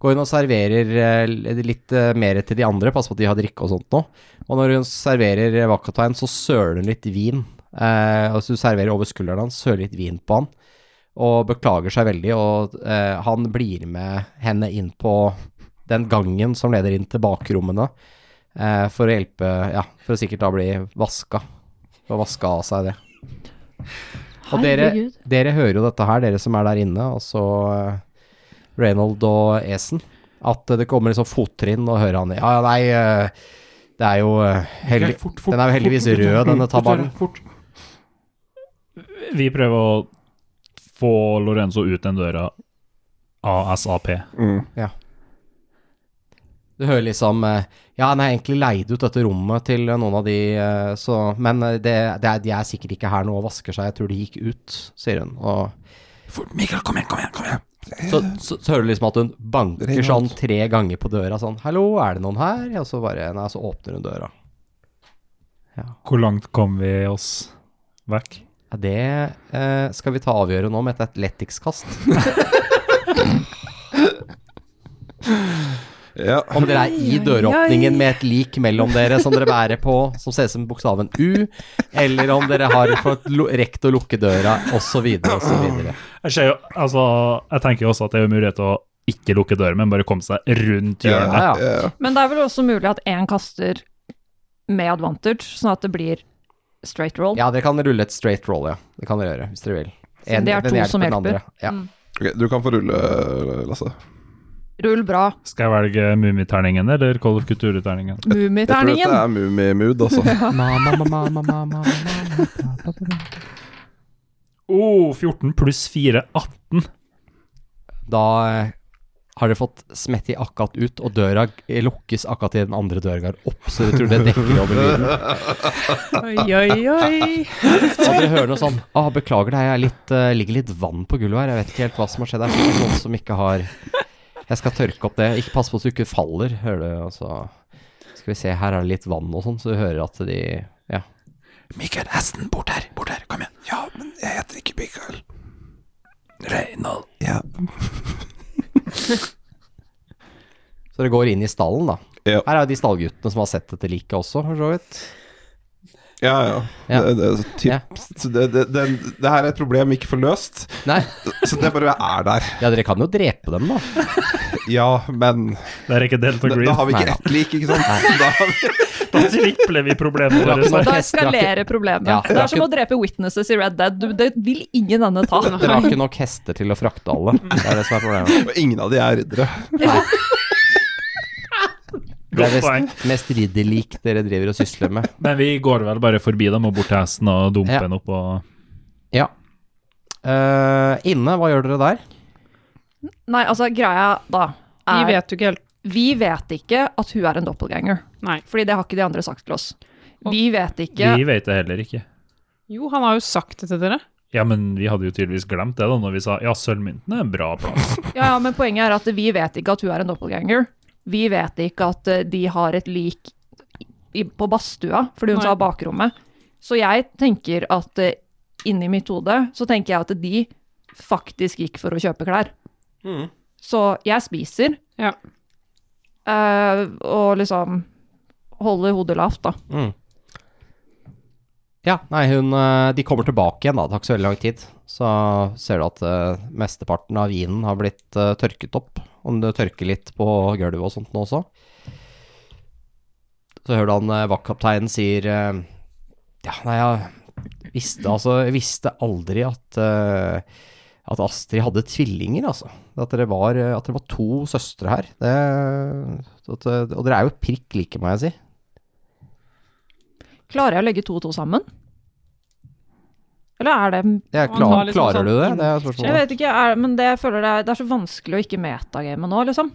S3: går hun og serverer eh, l- litt eh, mer til de andre, pass på at de har drikke og sånt nå. Og når hun serverer eh, Wakatain, så søler hun litt vin. Eh, altså hun serverer over skulderen hans, søler litt vin på han. Og beklager seg veldig, og eh, han blir med henne inn på den gangen som leder inn til bakrommene. eh, for å hjelpe Ja, for å sikkert da bli vaska. For å vaske av seg det. Og dere,
S4: Herregud.
S3: dere hører jo dette her, dere som er der inne, og så eh, Reynold og Esen. At eh, det kommer liksom fottrinn og hører han Ja, ja, nei, eh, det er jo eh, heldig- Den er jo heldigvis rød, denne tabaren.
S5: Vi prøver å få Lorenzo ut den døra ASAP.
S6: Mm.
S3: Du hører liksom eh, Ja, nei, jeg egentlig leid ut dette rommet til eh, noen av de, eh, så Men eh, det, det er, de er sikkert ikke her nå og vasker seg, jeg tror de gikk ut, sier hun. Og
S6: Mikael, kom igjen, kom igjen! kom igjen
S3: så, så, så hører du liksom at hun banker
S6: Ring
S3: sånn
S6: alt.
S3: tre ganger på døra, sånn 'Hallo, er det noen her?' Og så bare Nei, så åpner hun døra.
S5: Hvor langt kom vi oss vekk?
S3: Ja, det eh, skal vi ta avgjøre nå med et athletics-kast.
S6: Ja,
S3: Om dere er i døråpningen med et lik mellom dere som dere bærer på, som ser ut som bokstaven U, eller om dere har fått lo- rekt å lukke døra, osv., osv.
S5: Jeg, ser jo, altså, jeg tenker jo også at det er jo mulighet til å ikke lukke døren, men bare komme seg rundt hjørnet.
S3: Ja, ja.
S6: ja, ja.
S4: Men det er vel også mulig at én kaster med advantage, sånn at det blir straight roll.
S3: ja, dere kan rulle et straight roll, ja. Det kan dere gjøre, hvis dere vil.
S4: Så det er
S3: den
S4: to
S3: hjelper
S4: som
S3: den
S4: hjelper.
S3: andre. Ja.
S6: Ok, du kan få rulle, Lasse.
S4: Rull bra.
S5: Skal jeg velge Mummiterningen eller Kolv Kulturterningen?
S6: Jeg tror dette
S4: Mummiterningen!
S6: er Mummi-mood, altså.
S5: Oh, 14 pluss 4, 18.
S3: Da eh, har dere fått smetti akkurat ut, og døra g- lukkes akkurat i den andre døra går opp, så dere tror det dekker over lyden.
S9: Oi, oi, oi.
S3: Så dere hører noe sånn ah, 'Beklager det, jeg er litt, eh, ligger litt vann på gulvet her, jeg vet ikke helt hva som har skjedd her.' Sikkert noen som ikke har Jeg skal tørke opp det. Ikke pass på at du ikke faller, hører du. Og så skal vi se, her er det litt vann og sånn, så du hører at de Ja.
S6: Mikael, hesten, bort her, bort her, kom igjen. Ja, men jeg heter ikke Mikael. Reynold. Ja.
S3: Så dere går inn i stallen, da.
S6: Ja.
S3: Her er jo de stallguttene som har sett dette liket også, for så vidt.
S6: Ja, ja.
S3: Ja.
S6: Det, det, så typ,
S3: Ja.
S6: så det, det, det, det her er et problem ikke får løst,
S3: Nei,
S6: så det bare er der.
S3: ja, dere kan jo drepe dem, da.
S6: Ja, men
S5: Det er ikke Delta
S6: da,
S5: Green.
S6: da har vi
S3: Nei,
S6: ikke ett lik, ikke sant? Da har vi,
S5: Da tripler vi problemene våre.
S3: Rakk
S5: så-
S3: nok-
S4: Da
S3: Orkester har ikke-
S4: eskalerer problemet.
S3: Ja,
S4: det
S3: det har
S4: er som
S3: ikke-
S4: å drepe witnesses i Red Dead. Du, det vil ingen ende ta.
S3: Dere har ikke nok hester til å frakte alle. Det er det som er problemet.
S6: og ingen av de er riddere.
S3: Det er
S5: Godt poeng.
S3: mest, mest ridderlik dere driver og sysler med.
S5: Men vi går vel bare forbi dem og bort til hesten og
S3: Ja.
S5: dumper den opp og
S3: Ja. Eh, inne, hva gjør dere der?
S4: Nei, altså, greia da
S9: Vi
S4: er
S9: vet jo ikke helt
S4: vi vet ikke at hun er en doppelganger.
S9: Nei.
S4: Fordi det har ikke de andre sagt til oss.
S9: Og-
S4: Vi vet ikke
S5: Vi vet det heller ikke.
S9: Jo, han har jo sagt det til dere.
S5: Ja, men vi hadde jo tydeligvis glemt det da når vi sa ja, sølvmynten er en bra plass.
S4: Ja, ja, men poenget er at vi vet ikke at hun er en doppelganger. Vi vet ikke at eh, de har et lik i, på badstua, fordi hun
S9: Nei.
S4: sa bakrommet. Så jeg tenker at eh, inni mitt hode så tenker jeg at de faktisk gikk for å kjøpe klær. Så jeg spiser.
S9: Ja.
S4: eh, og liksom holder hodet lavt, da.
S3: Mm. Ja, nei, hun eh, De kommer tilbake igjen, da. Det tar ikke så veldig lang tid. Så ser du at eh, mesteparten av vinen har blitt eh, tørket opp. Om det tørker litt på gulvet og sånt nå også. Så hører du han eh, vaktkapteinen sier eh, Ja, nei, jeg visste altså Jeg visste aldri at eh, at Astrid hadde tvillinger, altså. At dere var, eh, at dere var to søstre her. Det, at, eh, og dere er jo prikk like, må jeg si.
S4: Klarer jeg å legge to og to sammen? Eller er det
S3: Det er
S9: Og han
S3: klar,
S9: har liksom
S3: klarer
S9: sånn
S3: du det?
S9: inn-
S3: Det er spørsmålet.
S4: Jeg vet ikke, er, men det, jeg føler det, er, det er så vanskelig å ikke metagame nå, liksom.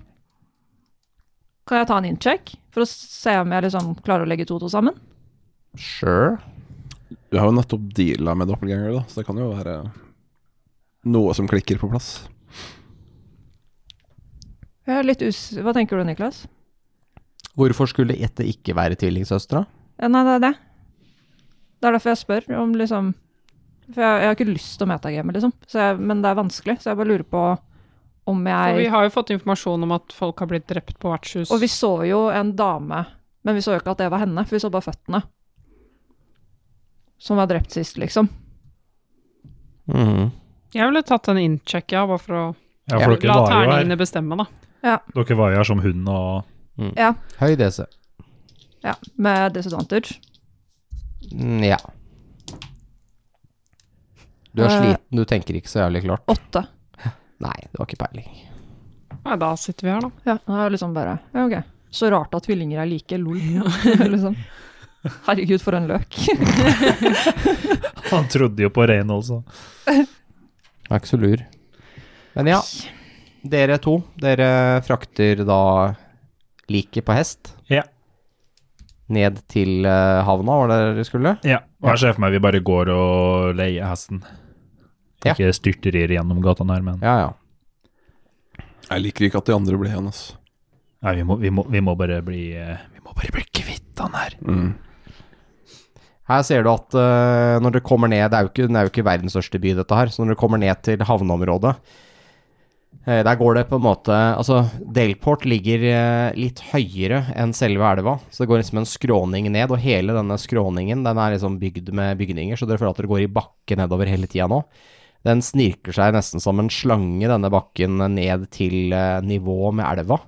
S4: Kan jeg ta en incheck for å se om jeg liksom klarer å legge to og to sammen?
S3: Sure.
S6: Du har jo nettopp deala med doppelganger, da, så det kan jo være noe som klikker på plass.
S4: Jeg er litt us... Hva tenker du, Niklas?
S3: Hvorfor skulle Jette ikke være tvillingsøstera?
S4: Ja, nei, det er det. Det er derfor jeg spør om liksom For jeg, jeg har ikke lyst til å metagame, liksom. Så jeg, men det er vanskelig, så jeg bare lurer på om
S9: For vi
S4: jeg
S9: har jo fått informasjon om at folk har blitt drept på vertshus.
S4: Og vi så jo en dame, men vi så jo ikke at det var henne, for vi så bare føttene. Som var drept sist, liksom.
S3: Mm.
S9: Jeg ville tatt en innsjekk, ja, bare for å
S5: Ja, for dere
S9: la
S5: var jo her,
S9: terningene bestemme, da.
S5: dere var jo her som hund og
S3: Høy DC.
S4: Ja, Med disadvantage.
S3: Mm, ja. Du er
S4: Eh.
S3: sliten, du tenker ikke så jævlig klart.
S4: Åtte.
S3: Nei, du har ikke peiling.
S9: Nei, da sitter vi her, da.
S4: Ja, det er liksom bare ja, ok. Så rart at tvillinger er like, lol. liksom. Herregud, for en løk.
S5: Han trodde jo på Reynold, så.
S3: Jeg er ikke så lur. Men ja, dere to, dere frakter da liket på hest
S5: Ja.
S3: ned til eh, havna, var det der du skulle?
S5: Ja, og jeg ser for meg vi bare går og leier hesten.
S3: Ja.
S5: Ikke styrtrir gjennom gata her, men
S3: Ja, ja.
S6: Jeg liker ikke at de andre ble igjen, altså.
S5: Nei, vi, må, vi, må, vi må bare bli eh, Vi må bare bli kvitt han her.
S6: Mm.
S3: Her ser du at eh, når dere kommer ned, det er, jo ikke, det er jo ikke verdens største by dette her, så når dere kommer ned til havneområdet, eh, der går det på en måte, altså Delport ligger eh, litt høyere enn selve elva, så det går liksom en skråning ned, og hele denne skråningen, den er liksom bygd med bygninger, så dere føler at dere går i bakke nedover hele tida nå. Den snirker seg nesten som en slange, denne bakken, ned til eh, nivå med elva.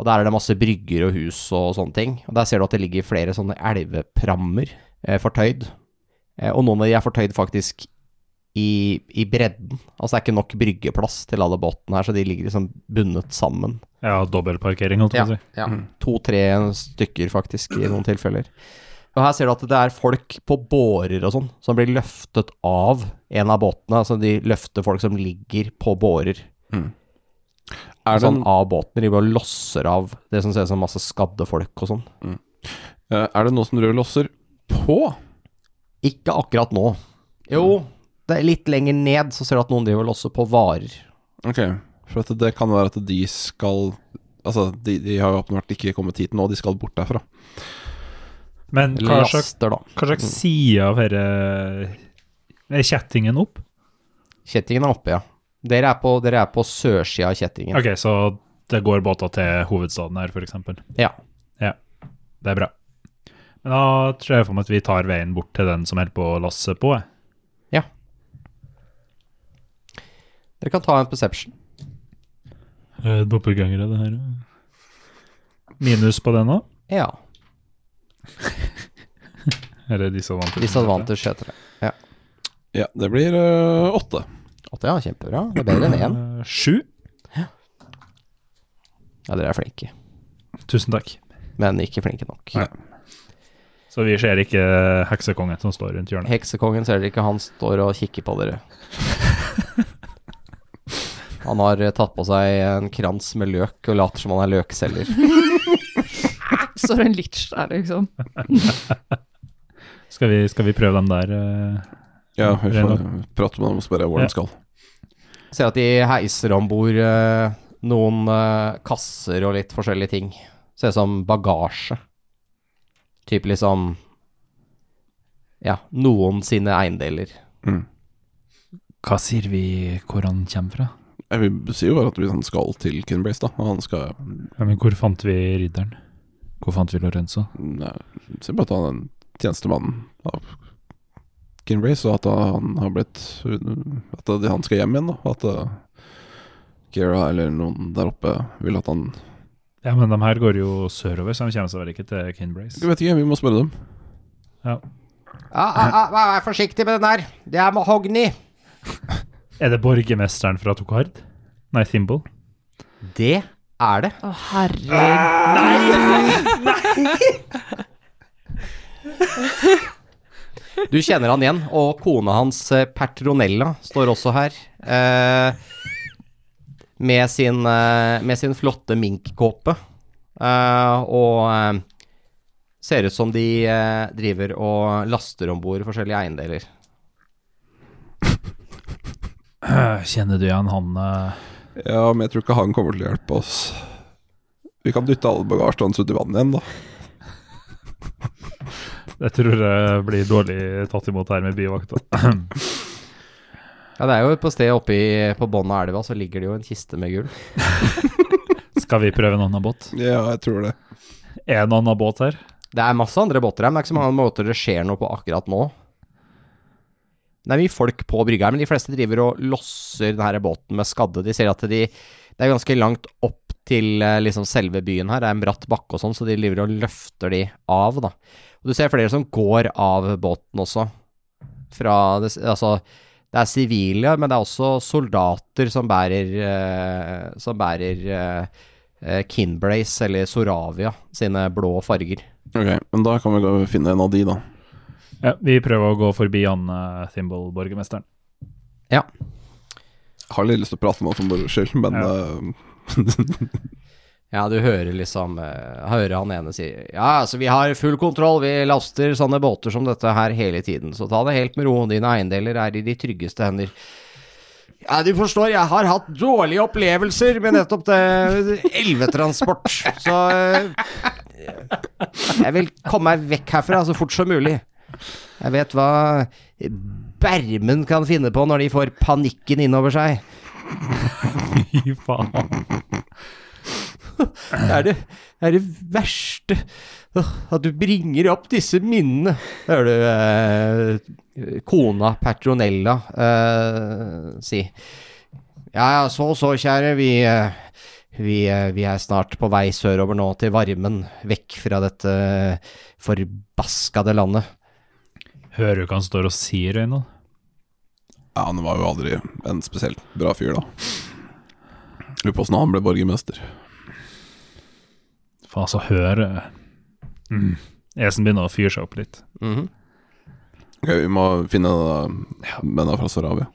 S3: Og der er det masse brygger og hus og sånne ting. Og der ser du at det ligger flere sånne elveprammer eh, fortøyd. Eh, og noen av de er fortøyd faktisk i, i bredden. Altså det er ikke nok bryggeplass til alle båtene her, så de ligger liksom bundet sammen.
S5: Ja, dobbeltparkering, holdt jeg på å si.
S3: Ja.
S6: Mm.
S3: To-tre stykker faktisk, i noen tilfeller. Og her ser du at det er folk på bårer og sånn, som blir løftet av en av båtene. Altså de løfter folk som ligger på bårer.
S6: Er det,
S3: Sånn
S6: en,
S3: av båtene, de bare losser av det som ser ut som masse skadde folk og sånn.
S6: eh, er det noe som rød losser på?
S3: Ikke akkurat nå. Jo, det er litt lenger ned så ser du at noen driver og losser på varer.
S6: Ok, for at det kan være at de skal Altså, de, de har jo åpenbart ikke kommet hit nå, de skal bort derfra.
S5: Men hva
S3: Eller
S5: slags,
S3: laster, da.
S5: hva slags side av dette Er kjettingen opp?
S3: Kjettingen er oppe, ja. Dere er på, dere er på sørsida av kjettingen.
S5: Ok, så det går båter til hovedstaden her, for eksempel.
S3: Ja.
S5: Ja, det er bra. Men da tror jeg for meg at vi tar veien bort til den som holder på å lasse på. jeg.
S3: Dere kan ta en perception.
S5: Eh, Doppelgangere, det her. Minus på den òg?
S3: Ja.
S5: Eller disadvantage?
S3: Disadvantage heter det.
S6: Ja, det blir eh, åtte.
S3: Åtte, ja. Kjempebra. Det er bedre enn én.
S5: Eh, Sju.
S3: Ja, dere er flinke.
S5: Tusen takk.
S3: Men ikke flinke nok.
S5: Nei. Så vi ser ikke eh, heksekongen som står rundt hjørnet.
S3: Heksekongen ser dere ikke, han står og kikker på dere. Han har eh, tatt på seg en krans med løk og later som han er løkselger.
S4: Står en litch der, liksom.
S5: Skal vi, skal vi prøve dem der? eh?
S6: Ja, vi får
S5: Rena.
S6: prate med dem og spørre hvor
S5: Ja.
S6: de skal.
S3: Ser at de heiser om bord eh, noen eh, kasser og litt forskjellige ting. Ser ut som bagasje. Typ liksom Ja, noen sine eiendeler.
S5: Hva sier vi hvor han kommer fra?
S6: Jeg vil si jo bare at vi sånn skal til Kinbrace, da. Og han skal
S5: Ja, men hvor fant vi ridderen? Hvor fant vi Lorenzo?
S6: Nei, ser bare at han er en tjenestemann av Kinbrace, og at han har blitt At han skal hjem igjen, da. At eh, Kira eller noen der oppe vil at han
S5: Ja, men de her går jo sørover, så de kommer seg vel ikke til Kinbrace?
S6: Jeg vet ikke, vi må spørre dem.
S5: Ja.
S3: Ah, ah, ah, vær- vær forsiktig med den der! Det er mahogni!
S5: Er det borgermesteren fra Tokard? Nei, Thimble.
S3: Det er det.
S4: Å, herregud.
S3: Du kjenner han igjen, og kona hans eh, Patronella står også her. Eh, med, sin, eh, med sin flotte minkkåpe. Eh, og eh, ser ut som de eh, driver og laster om bord forskjellige eiendeler.
S5: Eh, Kjenner du igjen han eh?
S6: Ja, men jeg tror ikke han kommer til å hjelpe oss. Vi kan dytte alle bagasjen hans ut i vannet igjen, da.
S5: Jeg tror jeg blir dårlig tatt imot her med byvakta.
S3: Ja, det er jo på stedet oppe i- på bunnen av elva, så ligger det jo en kiste med gull.
S5: Skal vi prøve en annen båt?
S6: Ja, jeg tror det.
S5: Er det en annen båt her?
S3: Det er masse andre båter her, men det er ikke så mange måter det skjer noe på akkurat nå. Det er mye folk på brygga her, men de fleste driver og losser denne båten med skadde. De ser at de, det er ganske langt opp til eh, liksom selve byen her, det er en bratt bakke og sånn, så de driver og løfter de av, da. Og du ser flere som går av båten også. Fra det, s- altså, det er sivile, men det er også soldater som bærer, eh, som bærer eh, eh, Kinbrace eller Soravia sine blå farger.
S6: Ok, men da kan vi gå og finne en av de, da.
S5: Ja, vi prøver å gå forbi han eh, Thimble, borgermesteren.
S6: eh, Jeg har litt lyst til å prate med han for moro skyld, men
S5: Ja.
S6: eh,
S3: Ja, du hører liksom eh, Hører han ene si Ja, altså vi har full kontroll, vi laster sånne båter som dette her hele tiden, så ta det helt med ro, dine eiendeler er i de tryggeste hender. Ja, du forstår, jeg har hatt dårlige opplevelser med nettopp det elvetransport, så eh, Jeg vil komme meg vekk herfra så fort som mulig. Jeg vet hva bermen kan finne på når de får panikken innover seg.
S5: Fy faen.
S3: Det er det, det er det verste. Åh, At du bringer opp disse minnene. Hører du eh, kona Patronella eh, si. Ja, ja, så så, kjære. Vi, eh, vi, eh, vi er snart på vei sørover nå, til varmen. Vekk fra dette forbaskede landet.
S5: Hører du hva han står og sier, Øynold?
S6: Ja, han var jo aldri en spesielt bra fyr, da. Lurer på åssen han ble borgermester.
S5: Faen, så hør eh. mm. Esen begynner å fyre seg opp litt.
S3: Mhm.
S6: Ok, vi må finne eh, mennene fra Sarabia.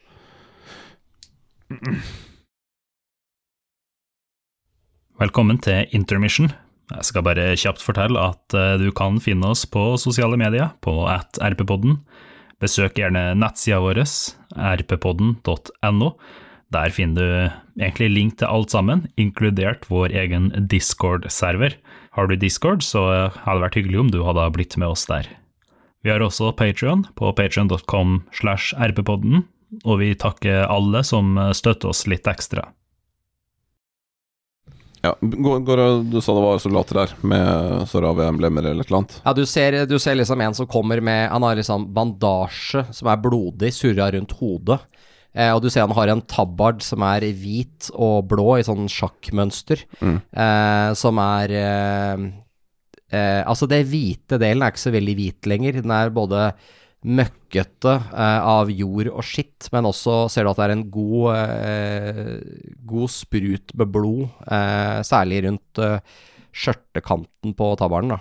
S11: Velkommen til Intermission. Jeg skal bare kjapt fortelle at eh, du kan finne oss på sosiale medier, på at rppodden. Besøk gjerne nettsida vår, rppodden.no. Der finner du egentlig link til alt sammen, inkludert vår egen Discord-server. Har du Discord, så eh, hadde det vært hyggelig om du hadde blitt med oss der. Vi har også Patreon på patreon.com slash rppodden, og vi takker alle som eh, støtter oss litt ekstra.
S6: Ja, går, går, og- du sa det var soldater der, med Sarabia-emblemer eller et eller annet.
S3: Ja, du ser, du ser liksom en som kommer med Han har liksom bandasje som er blodig, surra rundt hodet. Eh, og du ser han har en tabard som er hvit og blå i sånn sjakkmønster.
S6: Mm.
S3: Eh, som er eh, eh, Altså, det hvite delen er ikke så veldig hvit lenger. Den er både møkkete eh, av jord og skitt, men også ser du at det er en god, eh, god sprut med blod, eh, særlig rundt eh, skjørtekanten på tabarden, da.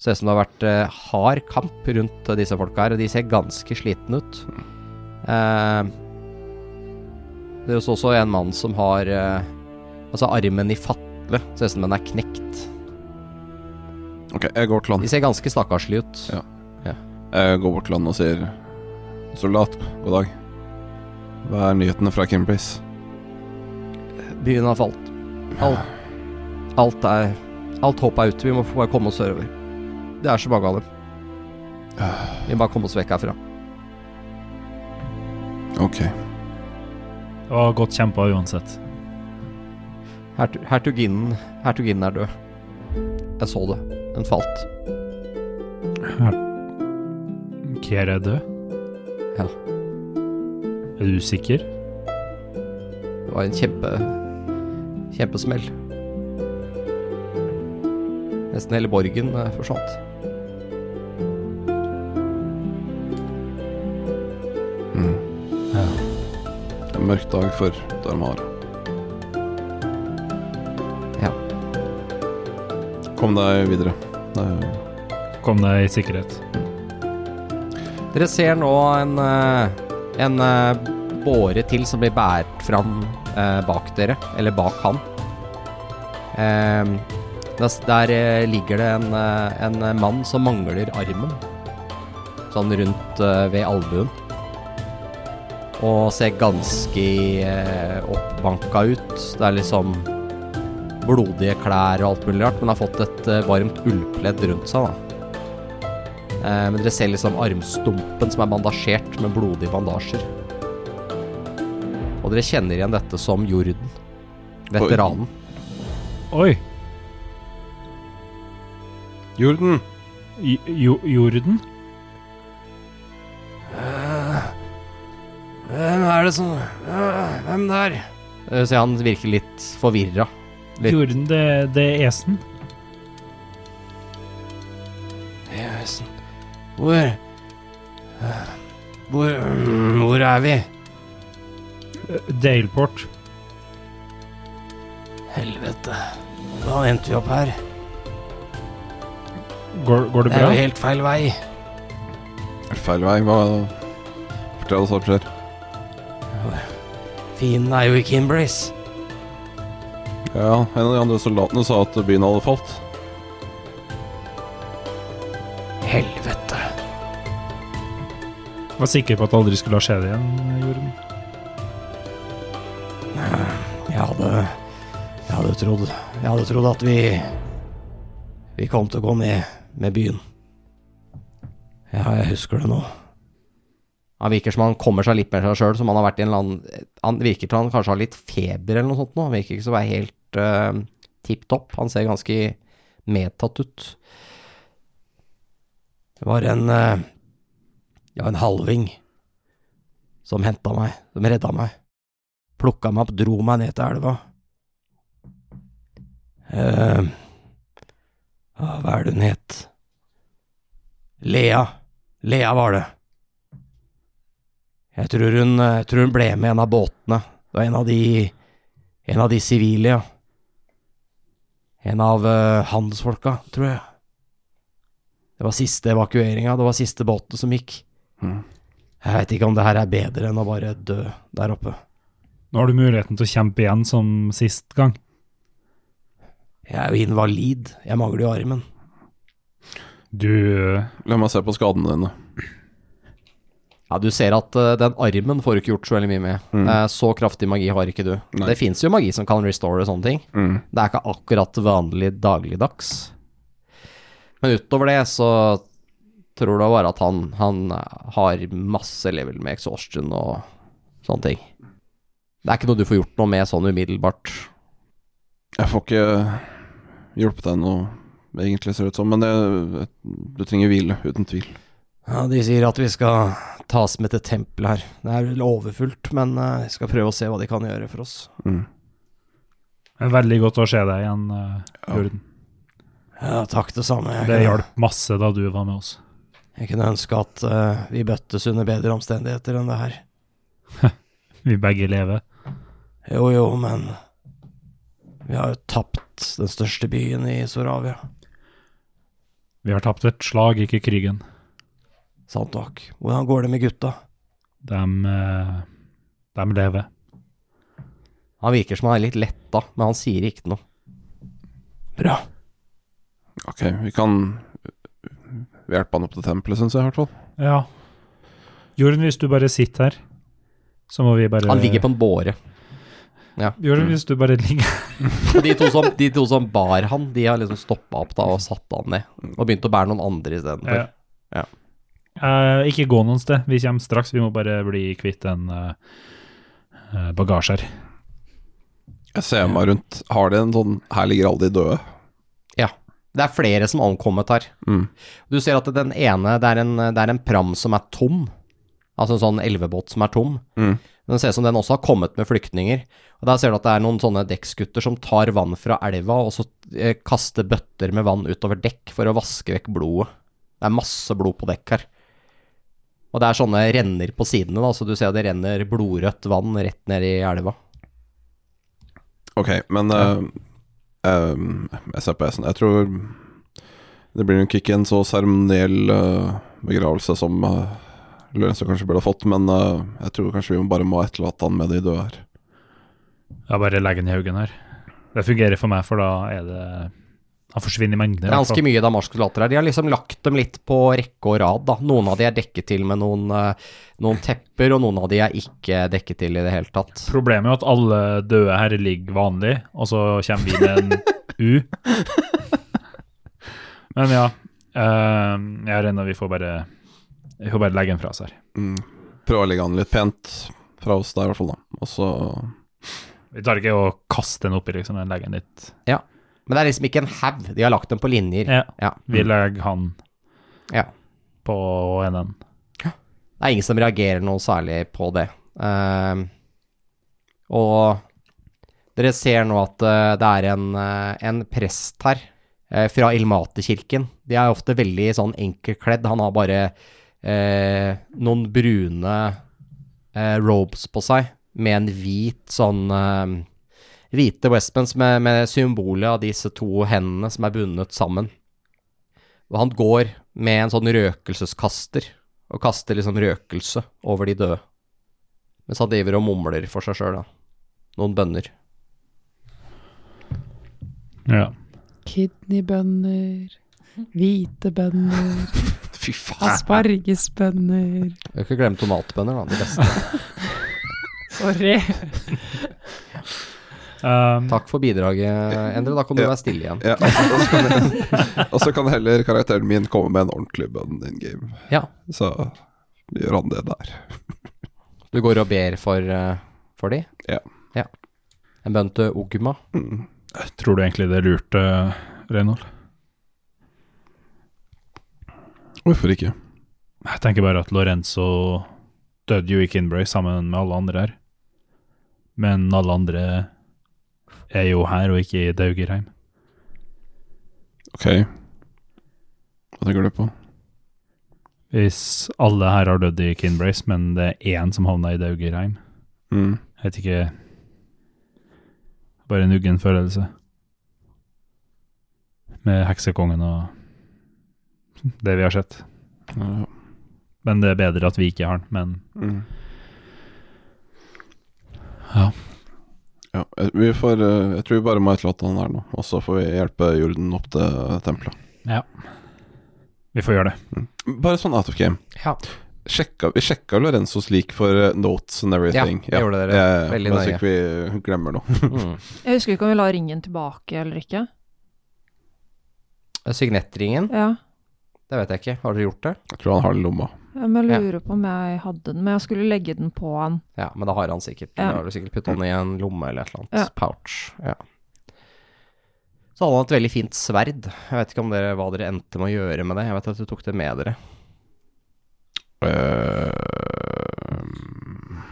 S3: Ser ut som det har vært eh, hard kamp rundt eh, disse folka her, og de ser ganske slitne ut. Eh, det er også også en mann som har eh, altså armen i fatle. Ser ut som den er knekt.
S6: Ok, jeg går til han.
S3: De ser ganske stakkarslige ut.
S6: Ja. Jeg går bort til han og sier Soldat, god dag. Hva er nyhetene fra Kimbris?
S3: Byen har falt. Alt, alt er Alt håp er ute. Vi må få bare komme oss sørover. Det er så mange av dem. Vi må bare komme oss vekk herfra.
S6: Ok.
S5: Det var godt kjempa uansett.
S3: Hertu- Hertuginnen Hertuginnen er død. Jeg så det. Den falt.
S5: Kier er død?
S3: Ja.
S5: Er du sikker?
S3: Det var en kjempe kjempesmell. Nesten hele borgen eh, forsvant.
S6: Mm. En mørk dag for Darmar.
S3: Ja.
S6: Kom deg videre. Eh,
S5: Kom deg i sikkerhet.
S3: Dere ser nå en, eh, en eh, båre til som blir båret fram eh, bak dere, eller bak han. Ehm, der s- der eh, ligger det en, eh, en mann som mangler armen, sånn rundt eh, ved albuen. Og ser ganske eh, oppbanka ut. Det er liksom blodige klær og alt mulig rart, men har fått et eh, varmt ullpledd rundt seg, da. Eh, Men dere ser liksom armstumpen som er bandasjert med blodige bandasjer. Og dere kjenner igjen dette som Jorden. Veteranen.
S5: Oi!
S6: Jorden!
S5: J jo Jorden?
S7: Hvem er det som Hvem der?
S3: Eh, Så han virker litt forvirra. Litt.
S5: Jorden, det, det er esen?
S7: Esen. Hvor Hvor Hvor er vi?
S5: Eh, Daleport.
S7: Helvete. Da endte vi opp her.
S5: Går, går det
S7: Det er
S5: bra?
S7: jo helt feil vei.
S6: Er det feil vei? Hva Fortell oss hva som skjer.
S7: Fienden er jo i Kimbris.
S6: Ja, en av de andre soldatene sa at byen hadde falt.
S7: Helvete.
S5: Var sikker på at det aldri skulle ha skjedd igjen, Jorden.
S7: Jeg hadde Jeg hadde trodd Jeg hadde trodd at vi Vi kom til å gå ned med byen. Ja, jeg husker det nå.
S3: Han virker som han kommer seg litt med seg sjøl, som han har vært i en eller annen Han virker til han kanskje har litt feber eller noe sånt nå. Han virker ikke som å være helt uh, tipp topp. Han ser ganske medtatt ut.
S7: Det var en eh, Ja, en halving som henta meg, som redda meg. Plukka meg opp, dro meg ned til elva. Eh, ah, hva er det hun het? Lea. Lea var det. Jeg tror hun, eh, jeg tror hun ble med i en av båtene. Det var en av de En av de sivile, ja. En av eh, handelsfolka, tror jeg. Det var siste evakueringa, det var siste båten som gikk. Jeg veit ikke om det her er bedre enn å bare dø der oppe.
S5: Nå har du muligheten til å kjempe igjen som sist gang.
S7: Jeg er jo invalid, jeg mangler jo armen.
S5: Du
S6: La meg se på skadene dine.
S3: Ja, du ser at eh, den armen får du ikke gjort så veldig mye med. Eh, så kraftig magi har ikke du.
S6: Mm. Nei.
S3: Det fins jo magi som kan restore sånne ting.
S6: Mm.
S3: Det er ikke akkurat vanlig dagligdags. Men utover det så tror du bare at han, han har masse level med exhaustion og sånne ting. Det er ikke noe du får gjort noe med sånn umiddelbart.
S6: Jeg får ikke hjulpet deg noe, egentlig, ser det ut som, men jeg, du trenger hvile, uten tvil.
S7: Ja, de sier at vi skal tas med til tempelet her. Det er vel overfullt, men eh, vi skal prøve å se hva de kan gjøre for oss.
S6: Mm.
S5: Det er eh, Veldig godt å se deg igjen, eh, Jorden.
S7: Ja, takk det samme. Jeg
S5: Det
S7: kunne-
S5: hjalp masse da du var med oss.
S7: Jeg kunne ønske at eh, vi bøttes under bedre omstendigheter enn det her.
S5: Vi begge lever.
S7: Jo jo, men vi har jo tapt den største byen i Soravia.
S5: Vi har tapt et slag, ikke krigen.
S7: Sant nok. Hvordan går det med gutta?
S5: De, de eh, lever.
S3: Han virker som han er litt letta, men han sier ikke noe.
S7: Bra.
S6: Ok, vi kan hjelpe han opp til tempelet, syns jeg, i hvert fall.
S5: Ja. Jorden, hvis du bare sitter her, så må vi bare
S3: Han ligger på en båre. Ja.
S5: Jorden, hvis du bare ligger
S3: Og de to som, de to som bar han, de har liksom stoppa opp da og satt han ned. Og begynt å bære noen andre istedenfor.
S5: Ja. Eh, Ikke gå noen sted. Vi kommer straks. Vi må bare bli kvitt en eh, eh, bagasje her.
S6: Jeg ser meg rundt. Har de en sånn 'her ligger alle de døde'?
S3: Ja. Det er flere som har omkommet her.
S6: Mm.
S3: Du ser at den ene, det er en, det er en pram som er tom. Altså en sånn elvebåt som er tom.
S6: Mm.
S3: Den ser ut som den også har kommet med flyktninger. Og Der ser du at det er noen sånne dekksgutter som tar vann fra elva, og så eh, kaster bøtter med vann utover dekk for å vaske vekk blodet. Det er masse blod på dekk her. Og det er sånne renner på sidene, da, så du ser det renner blodrødt vann rett ned i elva.
S6: Ok, men eh, eh, jeg ser på Esen. Jeg tror det blir nok ikke en så seremoniell eh, begravelse som uh, Lorenzo kanskje burde ha fått, men eh, jeg tror kanskje vi må bare må etterlate han med de døde her.
S5: Ja, bare legg den i haugen her. Det fungerer for meg, for da er det Han forsvinner i mengder. i
S3: Det er
S5: hvert fall.
S3: ganske mye damaskuslater her. De har liksom lagt dem litt på rekke og rad, da. Noen av de er dekket til med noen, eh, noen tepper, og noen av de er ikke dekket til i det hele tatt.
S5: Problemet er jo at alle døde her ligger vanlig, og så kommer vi med en U. Men ja, eh, jeg regner vi får bare, vi får bare legge den fra oss her.
S6: Mm. Prøve å legge han litt pent fra oss der, i hvert fall, da. Og så
S5: Vi tar ikke å kaste den oppi, liksom, den legger den litt.
S3: Ja. Men det er liksom ikke en haug, de har lagt dem på linjer.
S5: Ja,
S3: Ja.
S5: vi legger han
S3: Ja.
S5: på enden.
S3: Det er ingen som reagerer noe særlig på det. Ehm, og dere ser nå at eh, det er en, eh, en prest her eh, fra Ilmate-kirken. De er ofte veldig sånn enkelkledd. Han har bare eh, noen brune eh, robes på seg med en hvit sånn eh, Hvite Westmans med, med symbolet av disse to hendene som er bundet sammen. Og han går med en sånn røkelseskaster, og kaster liksom røkelse over de døde. Mens han driver og mumler for seg sjøl, da. Noen bønner.
S5: Ja.
S9: Kidneybønner, hvite bønner,
S3: Fy faen.
S9: aspargesbønner
S3: Jeg kan ikke glemme tomatbønner, da. De beste.
S9: Sorry.
S5: Um,
S3: Takk for bidraget, Endre. Da kan du være stille igjen.
S6: Ja, og så kan, jeg- og så kan heller karakteren min komme med en ordentlig bønn in game.
S3: Ja.
S6: Så gjør han det der.
S3: Du går og ber for, eh, for de?
S6: Ja.
S3: ja. En bønn til Ogma.
S6: Mm.
S5: Tror du egentlig det lurte, Reynold?
S6: Hvorfor ikke?
S5: Jeg tenker bare at Lorenzo døde jo i Kinbrace sammen med alle andre her. Men alle andre er jo her og ikke i Daugerheim.
S6: Ok. Hva tenker du på?
S5: Hvis alle her har dødd i Kinbrace, men det er én som havna i Daugerheim
S6: Mm.
S5: Jeg vet ikke Bare en uggen følelse. Med heksekongen og det vi har sett.
S6: Ja.
S5: Men det er bedre at vi ikke har den. Men
S6: Mm.
S5: Ja.
S6: Ja, eh, vi får, eh, jeg tror vi bare må etterlate han her nå, og så får vi hjelpe Jorden opp til tempelet.
S5: vi får gjøre det.
S6: Bare sånn out of game.
S3: Ja.
S6: Sjekka, vi sjekka Lorenzos lik for eh, notes and everything.
S3: Ja, det gjorde dere. Veldig
S6: men så
S3: nøye.
S6: ikke vi glemmer noe.
S3: Mm.
S4: Jeg husker ikke om vi la ringen tilbake eller ikke.
S3: Signettringen,
S4: Ja,
S3: det vet jeg ikke. Har dere gjort det?
S6: Jeg tror han har den i lomma.
S4: Men jeg lurer på om jeg hadde den, men jeg skulle legge den på han.
S3: Ja, men det har han sikkert.
S4: Ja.
S3: Da har du sikkert putta den i en lomme eller et eller annet.
S4: Ja.
S3: Pouch. Ja. Så hadde han et veldig fint sverd. Jeg vet ikke om dere, hva dere endte med å gjøre med det. Jeg vet at du tok det med dere.
S6: Eh,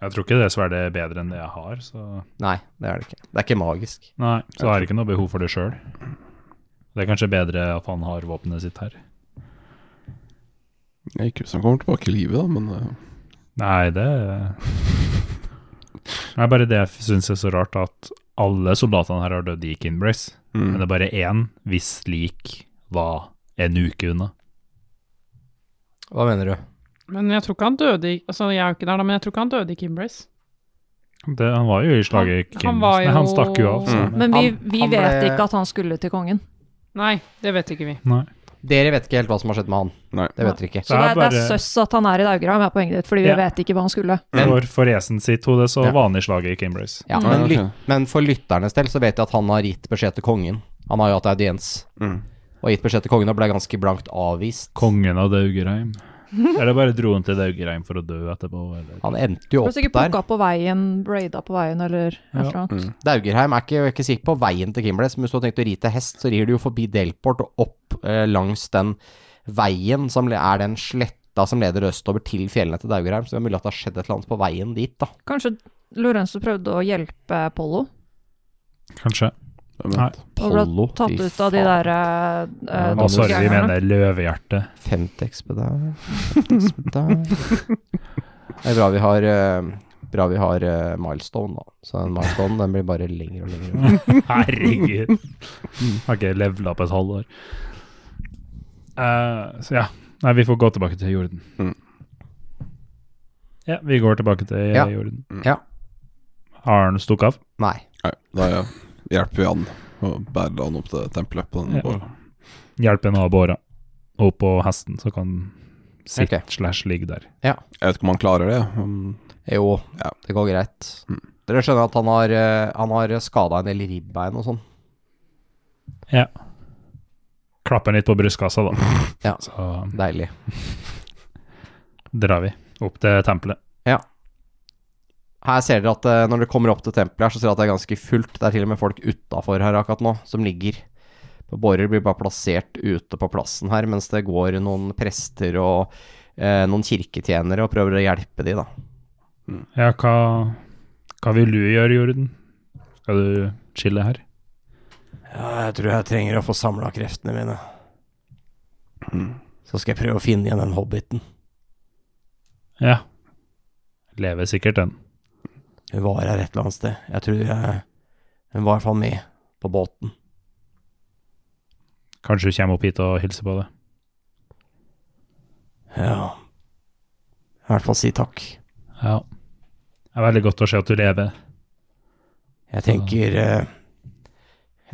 S5: Jeg tror ikke det sverdet er bedre enn det jeg har, så
S3: Nei, det er det ikke. Det er ikke magisk.
S5: Nei, så har jeg ikke noe behov for det sjøl. Det er kanskje bedre at han har våpenet sitt her.
S6: jeg ikke hvis han kommer tilbake i livet, da, men eh,
S5: Nei, det Det er bare det jeg syns er så rart, at alle soldatene her har dødd i Kinbrace. Men det
S6: mm.
S5: er bare én hvis lik var en uke unna.
S3: Hva mener du?
S9: Men jeg tror ikke han døde i Altså, jeg er jo ikke der, da, men jeg tror ikke han døde i Kimbrace.
S5: Det, han var jo i slaget i
S9: Han-
S5: Kinbrace.
S9: han var
S5: Nei, han
S9: jo-
S5: stakk jo av. Så.
S6: Mm.
S4: Men vi,
S3: Han-
S4: vi
S3: han ble-
S4: vet ikke at han skulle til kongen.
S9: Nei, det vet ikke vi.
S5: Nei.
S3: Dere vet ikke helt hva som har skjedd med han.
S6: Nei.
S3: Det vet dere ikke.
S4: Så det er, det er søss at han er i Daugram, er poenget ditt, fordi vi
S5: Ja.
S4: vet ikke hva han skulle.
S5: For, for Esen sitt hode så
S3: Ja.
S5: var han i slaget i Kinbrace.
S3: Ja,
S4: Mm.
S3: men,
S6: Ah, ok.
S3: lyt, men for lytternes del så vet jeg at han har gitt beskjed til kongen. Han har jo hatt audiens
S6: Mm.
S3: og gitt beskjed til kongen og ble ganske blankt avvist.
S5: Kongen av Daugerheim. Eller bare dro han til Daugerheim for å dø etterpå, eller
S3: Han endte jo
S4: Ble
S3: opp
S4: sikkert
S3: der. Mm.
S4: plukka på veien, raida på veien eller et
S5: Ja.
S4: eller annet.
S3: Daugerheim er ikke, jeg er ikke sikker på veien til Kimbles, men hvis du har tenkt å ri til hest, så rir du jo forbi Delport og opp eh, langs den veien som le- er den sletta som leder østover til fjellene til Daugerheim. Så det er mulig at det har skjedd et eller annet på veien dit, da.
S4: Kanskje Lorenzo prøvde å hjelpe Pollo?
S5: Kanskje.
S6: Hvem vet?
S5: Nei.
S4: Og ble
S3: Pollo,
S4: tatt
S3: fy
S4: ut av de
S3: faen.
S4: der eh,
S3: Ja,
S4: eh,
S5: Hva sorry, vi
S4: dobbeltgjengerne.
S5: mener løvehjerte.
S3: Femtex på deg, femtex på deg. Det er bra vi har, eh, bra vi har eh, milestone, da. Så den milestone den blir bare lengre og lengre.
S5: Herregud. Har ikke levela på et halvår. Eh, så ja. Nei, vi får gå tilbake til jorden.
S6: Mm.
S5: Ja, vi går tilbake til
S3: Ja.
S5: jorden.
S3: Ja.
S5: Har han stukket av?
S3: Nei.
S6: Nei, da ja, hjelper vi han og bærer han opp til tempelet på den
S5: Ja.
S6: båren.
S5: Hjelp en av båra opp på hesten, så kan sitt
S3: Ok.
S5: slash ligge der.
S6: Jeg vet ikke om han klarer det. Um,
S3: Jo,
S6: Ja.
S3: det går greit.
S6: Mm.
S3: Dere skjønner at han har, eh, han har skada en del ribbein og sånn.
S5: Klapper litt på brystkassa, da.
S3: Ja.
S5: Så
S3: Deilig.
S5: drar vi opp til tempelet.
S3: Her ser dere at eh, når dere kommer opp til tempelet her, så ser dere at det er ganske fullt. Det er til og med folk utafor her akkurat nå, som ligger. Bårer blir bare plassert ute på plassen her, mens det går noen prester og eh, noen kirketjenere og prøver å hjelpe de, da.
S5: Ja, hva, hva vil du gjøre, Jorden? Skal du chille her?
S7: Ja, jeg tror jeg trenger å få samla kreftene mine. Så skal jeg prøve å finne igjen den hobbiten.
S5: Ja. Lever sikkert den.
S7: Hun var her et eller annet sted. Jeg tror jeg, hun var i hvert fall med på båten.
S5: Kanskje du kommer opp hit og hilser på det.
S7: Ja. I hvert fall si takk.
S5: Ja. Det er veldig godt å se at du lever.
S7: Jeg tenker eh,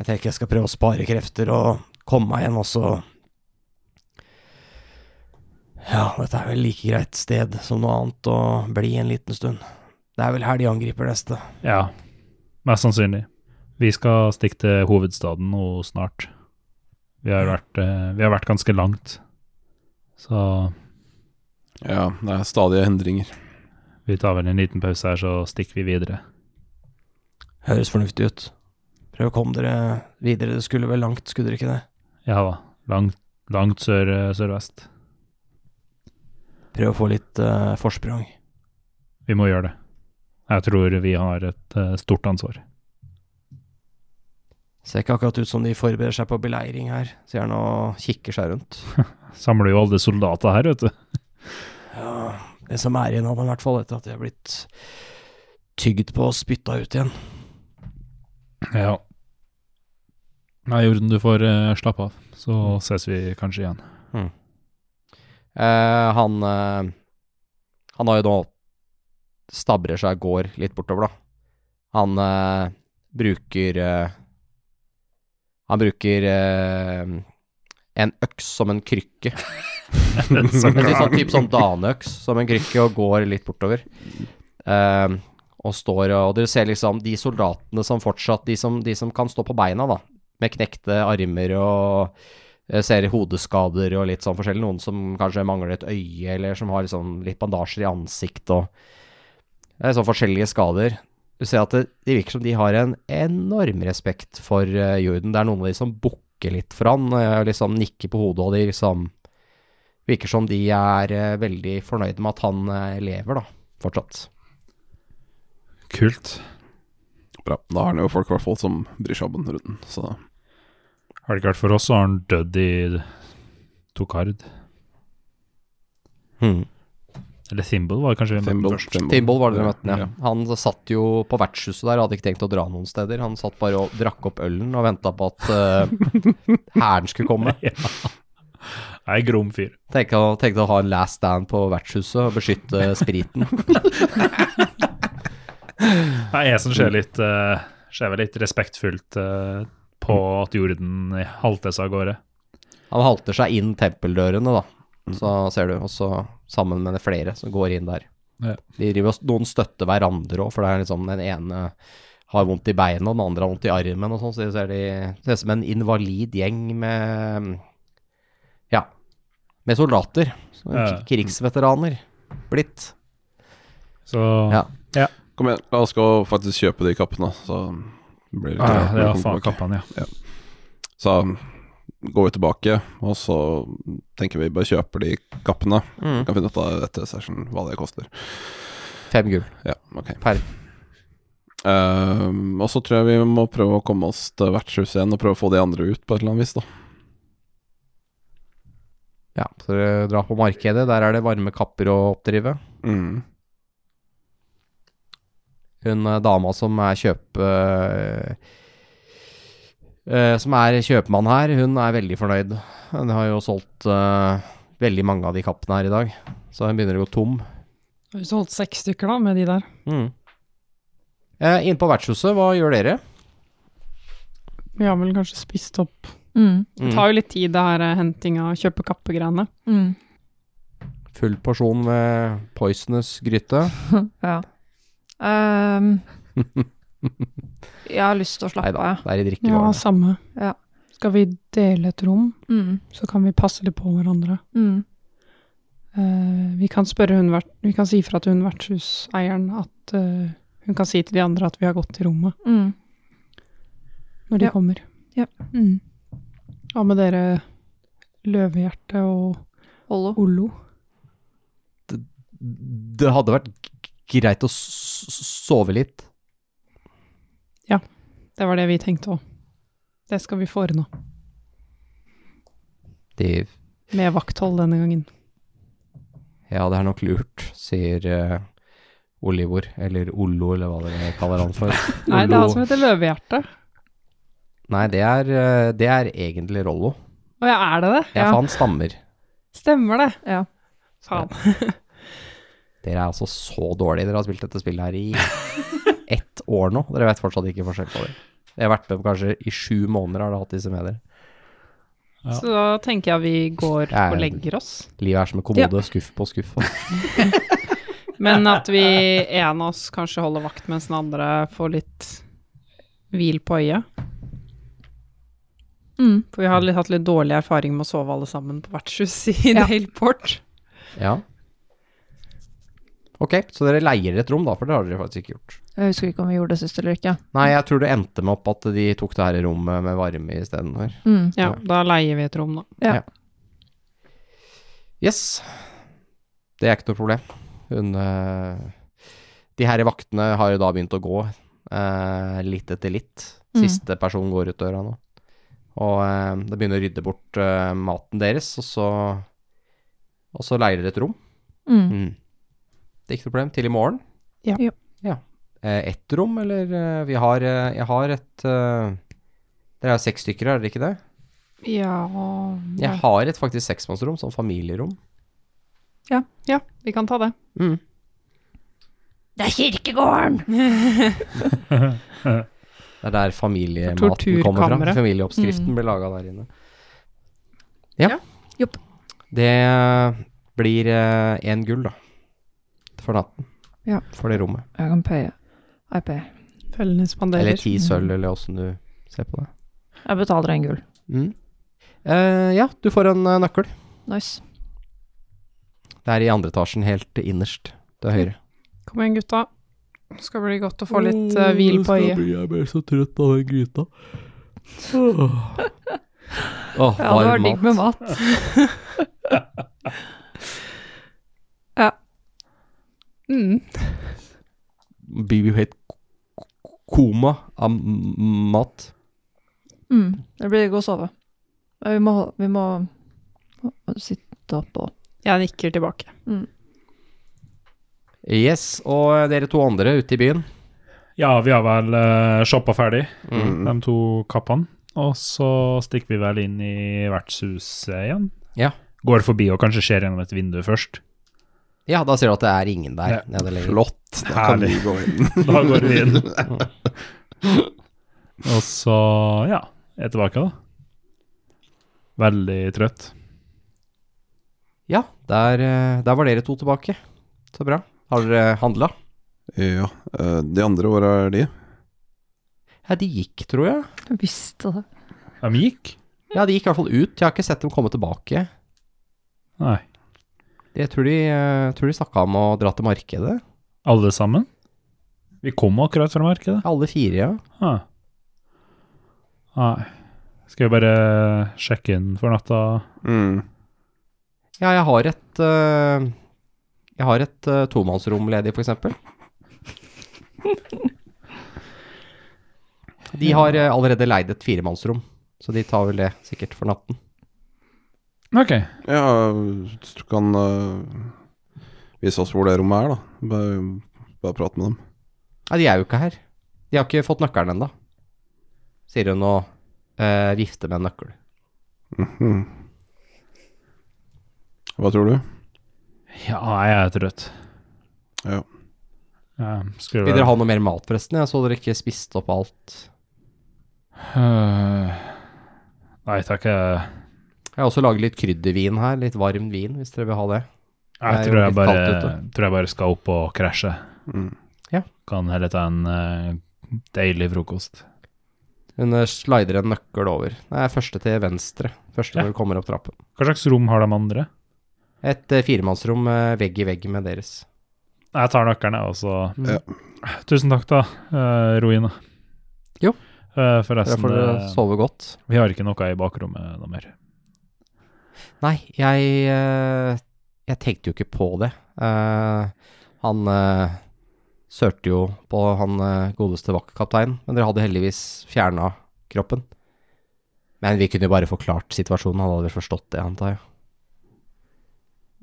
S3: Jeg tenker jeg skal prøve å spare krefter og komme meg hjem, og så Ja, dette er vel like greit sted som noe annet å bli en liten stund. Det er vel her de angriper neste.
S5: Ja, mest sannsynlig. Vi skal stikke til hovedstaden nå snart. Vi har vært, eh, vi har vært ganske langt. Så
S6: Ja, det er stadige endringer.
S5: Vi tar vel en liten pause her, så stikker vi videre.
S3: Høres fornuftig ut. Prøv å komme dere videre, det skulle vel langt, skulle dere ikke det?
S5: Ja da, langt, langt sør, eh, sørvest.
S3: Prøv å få litt eh, forsprang.
S5: Vi må gjøre det. Jeg tror vi har et eh, stort ansvar.
S3: Ser ikke akkurat ut som de forbereder seg på beleiring her, sier han og kikker seg rundt.
S5: Samler jo alle soldater her, vet du.
S3: Ja, det som er igjen av dem i hvert fall, etter at de har blitt tygd på og spytta ut igjen.
S5: Ja. Nei, Jorden, du får eh, slappe av, så Mm. ses vi kanskje igjen.
S7: Eh, han eh, Han har jo nå stabrer seg og går litt bortover, da. Han eh, bruker eh, Han bruker eh, en øks som en krykke. en litt sånn type sånn daneøks som en krykke og går litt bortover. Eh, og står og Dere ser liksom de soldatene som fortsatt De som, de som kan stå på beina, da. Med knekte armer og jeg ser hodeskader og litt sånn forskjellig. Noen som kanskje mangler et øye, eller som har liksom litt bandasjer i ansiktet og det er sånn forskjellige skader. Du ser at det, det virker som de har en enorm respekt for eh, Jordan. Det er noen av de som bukker litt for han, eh, liksom nikker på hodet, og de liksom Virker som de er eh, veldig fornøyd med at han eh, lever, da, fortsatt.
S5: Kult.
S6: Bra. Da har han jo folk i hvert fall som bryr seg om den runden, så
S5: Har det ikke vært for oss, så har han dødd i Tokard.
S3: Hmm.
S5: Eller Thimble var det kanskje vi møtte
S6: Thimble,
S5: først.
S6: Thimble.
S3: Timbol var det dere møtte,
S6: Ja.
S3: ja. Han satt jo på vertshuset der, hadde ikke tenkt å dra noen steder. Han satt bare og drakk opp ølen og venta på at eh, hæren skulle komme.
S5: Nei, grom fyr.
S3: Tenkte, å- tenkte å ha en last stand på vertshuset og beskytte spriten.
S5: Nei, jeg som ser litt, eh, ser vel litt respektfullt eh, på at jorden halter seg av gårde.
S3: Han halter seg inn tempeldørene, da. Så ser du, og så sammen med flere som går inn der.
S5: Ja.
S3: De driver, og- noen støtter hverandre òg, for det er liksom den ene har vondt i beina, og den andre har vondt i armen og sånn, så de ser de ser ut som en invalid gjeng med Ja, med soldater. Så
S5: Ja.
S3: Krigsveteraner blitt.
S5: Så
S3: Ja.
S6: Kom igjen, la oss gå og faktisk kjøpe de kappene, så blir det
S5: Ja,
S6: greit når
S5: eh, ja,
S6: vi kommer
S5: faen,
S6: tilbake.
S5: kappene, ja.
S6: Så går vi tilbake, og så tenker vi bare kjøper de kappene.
S3: Mm.
S6: Vi kan finne ut av etter session hva det koster.
S3: Fem gull
S6: Ja, ok.
S3: per.
S6: Ehm, og så tror jeg vi må prøve å komme oss til vertshuset igjen og prøve å få de andre ut på et eller annet vis, da.
S3: Ja, så dere drar på markedet. Der er det varme kapper å oppdrive.
S6: Mm.
S3: Hun eh, dama som er kjøp... eh, eh, som er kjøpmann her, hun er veldig fornøyd. Hun har jo solgt eh, veldig mange av de kappene her i dag, så hun begynner å gå tom.
S9: Har du solgt seks stykker, da, med de der?
S3: Mm. Eh, Inne på vertshuset, hva gjør dere?
S9: Vi har vel kanskje spist opp
S4: Mm.
S9: Det tar jo litt tid, det her eh, hentinga og kjøpe kappegreiene.
S4: Mm.
S3: Full porsjon med poisonous gryte.
S4: mm. Ja. Ehm, jeg har lyst til
S3: Nei
S4: å slappe
S3: da,
S4: av.
S3: det er i
S9: Ja,
S3: drikkevarene.
S9: samme.
S4: Ja.
S9: Skal vi dele et rom,
S4: Mm.
S9: så kan vi passe litt på hverandre.
S4: Mm.
S9: Eh, vi kan spørre hun vert, vi kan si fra til hun vertshuseieren at eh, hun kan si til de andre at vi har gått i rommet
S4: Mm.
S9: når de
S4: Ja.
S9: kommer.
S4: Ja.
S9: Mm. Hva med dere Løvehjerte og
S4: Hollo.
S9: Ollo?
S3: Det hadde vært g- greit å s- s- sove litt.
S9: Det var det vi tenkte òg. Det skal vi få ordna.
S3: De
S9: Med vakthold denne gangen.
S3: Ja, det er nok lurt, sier eh, Olivor, eller Ollo, eller hva dere kaller han for.
S9: Nei, det er han
S3: Ollo.
S9: som heter Løvehjerte.
S3: Nei, det er, eh, det er egentlig Rollo.
S9: Å ja, er det det?
S3: Ja, for han stammer.
S9: Stemmer det.
S4: Ja.
S9: Faen.
S3: Dere er altså så dårlige. Dere har spilt dette spillet her i ett år nå. Dere vet fortsatt ikke forskjell på det. Jeg har vært med på kanskje i sju måneder har jeg hatt disse med dere. Ja.
S9: Så da tenker jeg vi går
S3: Ja,
S9: og
S3: ja.
S9: legger oss.
S3: Livet er som en kommode, skuff på skuff.
S9: Men at vi en av oss kanskje holder vakt mens den andre får litt hvil på øyet.
S2: Mm.
S9: For vi har litt, hatt litt dårlig erfaring med å sove alle sammen på vertshus i
S2: Ja.
S9: Dale Port.
S3: Ja. Ok, så dere leier et rom da, for det har dere faktisk ikke gjort.
S4: Jeg husker ikke om vi gjorde det sist eller ikke.
S3: Nei, jeg tror det endte med opp at de tok det her rommet med varme istedenfor.
S4: Mm.
S9: Ja, da leier vi et rom, da.
S4: Ja.
S3: Yes. Det er ikke noe problem. Hun eh, De her vaktene har jo da begynt å gå, eh, litt etter litt.
S7: Mm.
S3: Siste person går ut døra nå. Og eh, det begynner å rydde bort eh, maten deres, og så Og så leier dere et rom.
S4: Mm.
S3: Det er ikke noe problem. Til i morgen.
S9: Ja.
S3: Eh, ett rom, eller eh, Vi har eh, Jeg har et eh, Dere er seks stykker, er dere ikke det? Jeg har et faktisk seksmannsrom, sånn familierom.
S9: Ja. ja, vi kan ta det.
S3: Mm.
S10: Det er kirkegården!
S3: Det er der familiematen kommer fra.
S9: Torturkammeret.
S3: Familieoppskriften
S9: Mm.
S3: blir laga der inne. Ja. Det eh, blir én gull, da. For natten.
S4: Ja.
S3: For det rommet.
S4: Jeg kan paye. I pay.
S9: Følgende spanderer.
S3: Eller ti sølv, eller åssen du ser på det.
S4: Jeg betaler en gull.
S3: Mm. Eh, ja, du får en eh, nøkkel.
S4: Nice.
S3: Det er i andre etasjen, helt innerst til høyre.
S9: Kom igjen, gutta. Det skal bli godt å få litt eh, hvil på øyet.
S7: Jeg blir så trøtt av den gryta. Åh,
S3: Åh,
S9: Ja, det var
S3: varm
S9: digg med mat. ja. Mm.
S3: Blir jo helt k- k- koma av m- mat.
S4: Mm. Det blir god sove. Men Vi må, vi må sitte opp og
S9: Jeg nikker tilbake.
S3: Yes, og eh, dere to andre ute i byen.
S5: Ja, vi har vel uh, shoppa ferdig,
S3: Mm.
S5: de to kappene. Og så stikker vi vel inn i vertshuset igjen.
S3: Ja.
S5: Går forbi og kanskje ser gjennom et vindu først.
S3: Ja, da ser du at det er ingen der
S5: Det-
S3: nede lenger.
S6: Flott. Da kan vi
S5: Herlig.
S6: gå inn.
S5: Da går vi inn. Og så, ja, jeg er tilbake da. Veldig trøtt.
S3: Ja, der, eh, der var dere to tilbake. Så bra. Har dere handla?
S6: Ja. eh, De andre, hvor er de?
S3: Ja, de gikk, tror jeg.
S4: Jeg visste det.
S5: De gikk?
S3: Ja, de gikk i hvert fall ut. Jeg har ikke sett dem komme tilbake.
S5: Nei.
S3: Jeg tror de, eh, tror de snakka om å dra til markedet.
S5: Alle sammen? Vi kom akkurat fra markedet.
S3: Alle fire, ja.
S5: Ah. Nei. Skal vi bare sjekke inn for natta?
S6: Mm.
S3: Ja, jeg har et eh, Jeg har et eh, tomannsrom ledig, for eksempel. De har eh, allerede leid et firemannsrom, så de tar vel det sikkert for natten.
S5: Ok.
S6: Ja, hvis du kan eh, vise oss hvor det rommet er, da. Bare, bare prate med dem.
S3: Nei, de er jo ikke her. De har ikke fått nøkkelen ennå, sier hun og eh, vifter med en nøkkel.
S6: Mhm. Hva tror du?
S5: Ja, jeg er trøtt.
S6: Ja.
S5: Ja, skal vi
S3: Vil dere ha noe mer mat, forresten? Jeg så dere ikke spiste opp alt.
S5: Øh, Nei takk, jeg,
S3: Jeg har også laget litt kryddervin her, litt varm vin, hvis dere vil ha det.
S5: jeg,
S3: Det er jo
S5: tror, jeg
S3: litt
S5: bare,
S3: kaldt ute.
S5: tror jeg bare skal opp og krasje.
S6: Mm.
S3: Ja.
S5: Kan heller ta en eh, deilig frokost.
S3: Hun eh, slider en nøkkel over. Det er første til venstre, første
S5: Ja.
S3: når du kommer opp trappen.
S5: Hva slags rom har de andre?
S3: Et eh, firemannsrom eh, vegg i vegg med deres.
S5: Jeg tar nøkkelen, jeg, og så
S6: Ja.
S5: Tusen takk, da, eh, Roina.
S3: Jo.
S5: Eh,
S3: Der
S5: forresten,
S3: får dere
S5: eh,
S3: sove godt.
S5: vi har ikke noe i bakrommet noe mer.
S3: Nei, jeg, eh, jeg tenkte jo ikke på det. Eh, han eh, sørte jo på han eh, godeste vaktkapteinen, men dere hadde heldigvis fjerna kroppen. Men vi kunne jo bare forklart situasjonen, han hadde vel forstått det, antar jeg.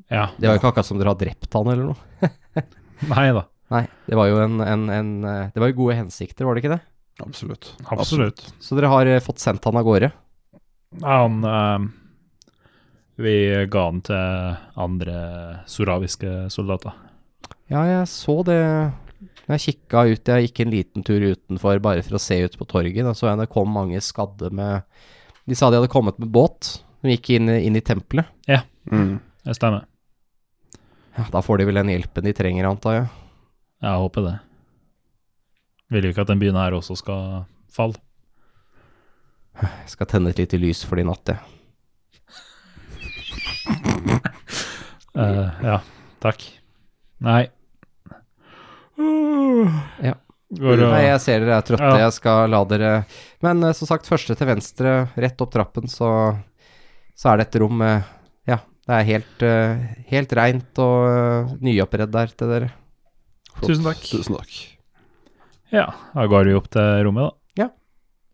S5: Ja.
S3: Det var jo ikke akkurat som dere har drept han eller noe.
S5: Nei da.
S3: Nei, det var jo en, en, en eh, Det var jo gode hensikter, var det ikke det?
S6: Absolutt.
S5: Absolutt.
S3: Så dere har eh, fått sendt han av gårde?
S5: Nei, Han eh, Vi ga han til andre soraviske soldater.
S3: Ja, jeg så det Jeg kikka ut, jeg gikk en liten tur utenfor bare for å se ut på torget. Da så jeg det kom mange skadde med De sa de hadde kommet med båt. De gikk inn, inn i tempelet.
S5: Ja,
S6: Mm.
S5: det stemmer.
S3: Ja, da får de vel den hjelpen de trenger, antar jeg.
S5: Jeg håper det. Vil jo ikke at den byen her også skal falle.
S3: Jeg skal tenne et lite lys for de i natt, jeg.
S5: Eh, ja, takk. Nei.
S3: Ja.
S5: Går det-
S3: Nei, jeg ser dere er trøtte,
S5: Ja.
S3: jeg skal la dere Men eh, som sagt, første til venstre, rett opp trappen, så, så er det et rom eh, Ja, det er helt, eh, helt reint og eh, nyoppredd der til dere.
S5: Tusen takk.
S6: Tusen takk.
S5: Ja, da går vi opp til rommet, da.
S3: Ja.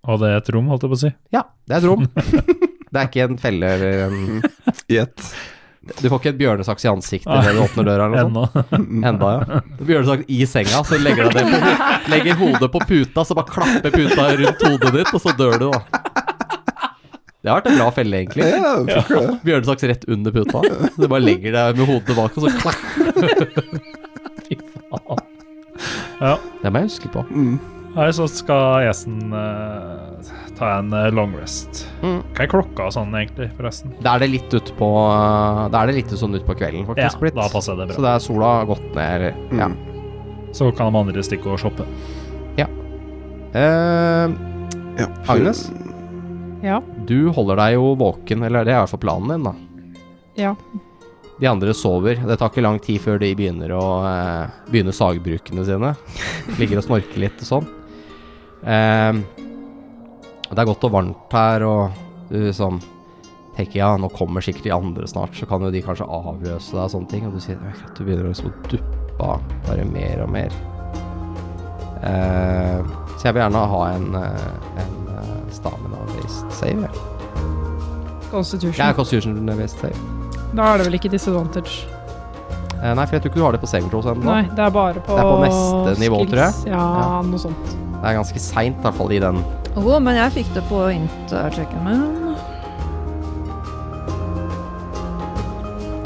S5: Og det er et rom, holdt jeg på å si.
S3: Ja, det er et rom. det er ikke en felle eller en
S6: Gjett.
S3: Du får ikke et bjørnesaks i ansiktet når du åpner døra eller noe sånt? Enda, ja. Bjørnesaks i senga, så legger, deg ned på- legger hodet på puta, så bare klapper puta rundt hodet ditt, og så dør du, da. Det har vært en bra felle, egentlig.
S6: Ja, fuck det.
S3: Bjørnesaks rett under puta. Du bare legger deg med hodet tilbake, og så klakk. Fy faen.
S5: Ja.
S3: Det må jeg huske på.
S6: Mm.
S5: Nei, så skal Esen eh, ta en eh, long rest.
S3: Mm.
S5: Hva er klokka og sånn, egentlig, forresten?
S3: Da er det litt ut på Da er det litt sånn ut på kvelden,
S5: Ja,
S3: faktisk. blitt.
S5: da passer det bra.
S3: Så det er sola har gått ned, eller Ja.
S6: Mm.
S5: Så kan de andre stikke og shoppe.
S3: Eh,
S6: Ja,
S3: Agnes?
S9: Ja.
S3: Du holder deg jo våken, eller det er i hvert fall planen din, da.
S9: Ja.
S3: De andre sover. Det tar ikke lang tid før de begynner å eh, begynne sagbrukene sine. Ligger og snorker litt og sånn. Ehm, og det er godt og varmt her, og du sånn tenker ja, nå kommer sikkert de andre snart, så kan jo de kanskje avløse deg og sånne ting. Og du sier «Jeg merker at du begynner å liksom duppe av bare mer og mer. Ehm, så jeg vil gjerne ha en, eh, en eh, stamina-based save. jeg.
S9: Constitution.
S3: Jeg er constitution-based save.
S9: Da er det vel ikke disadvantage.
S3: Eh, nei, for jeg tror ikke du har det på saving throws ennå.
S9: Nei, det er bare på
S3: Det er på neste nivå,
S9: skills.
S3: tror jeg.
S9: Ja,
S3: Ja.
S9: noe sånt.
S3: Det er ganske seint, i hvert fall i den.
S4: Å, men jeg fikk det på int-checken min.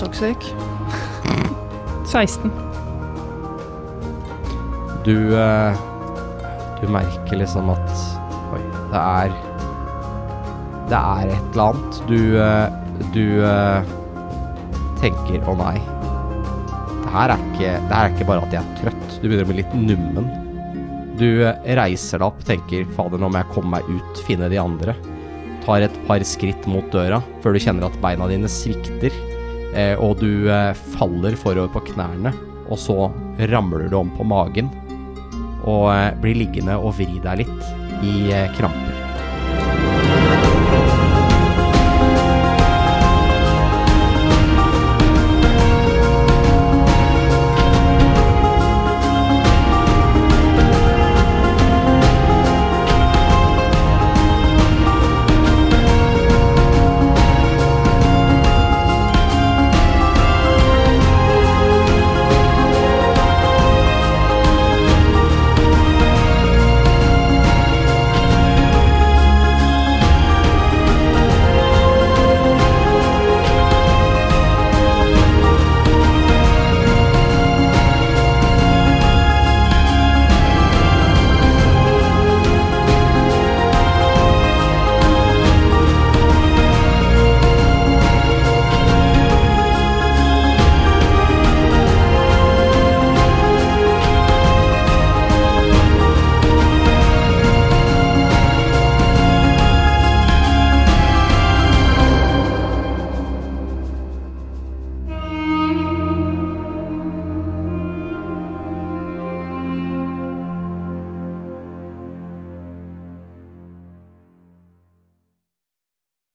S4: Toxic.
S9: 16.
S3: Du eh, Du merker liksom at Oi, det er Det er et eller annet. Du eh, Du eh, tenker å nei. Det her, er ikke, det her er ikke bare at jeg er trøtt. Du begynner å bli litt nummen. Du eh, reiser deg opp, tenker fader, nå må jeg komme meg ut, finne de andre. Tar et par skritt mot døra før du kjenner at beina dine svikter, eh, og du eh, faller forover på knærne, og så ramler du om på magen og eh, blir liggende og vri deg litt i eh, kramper.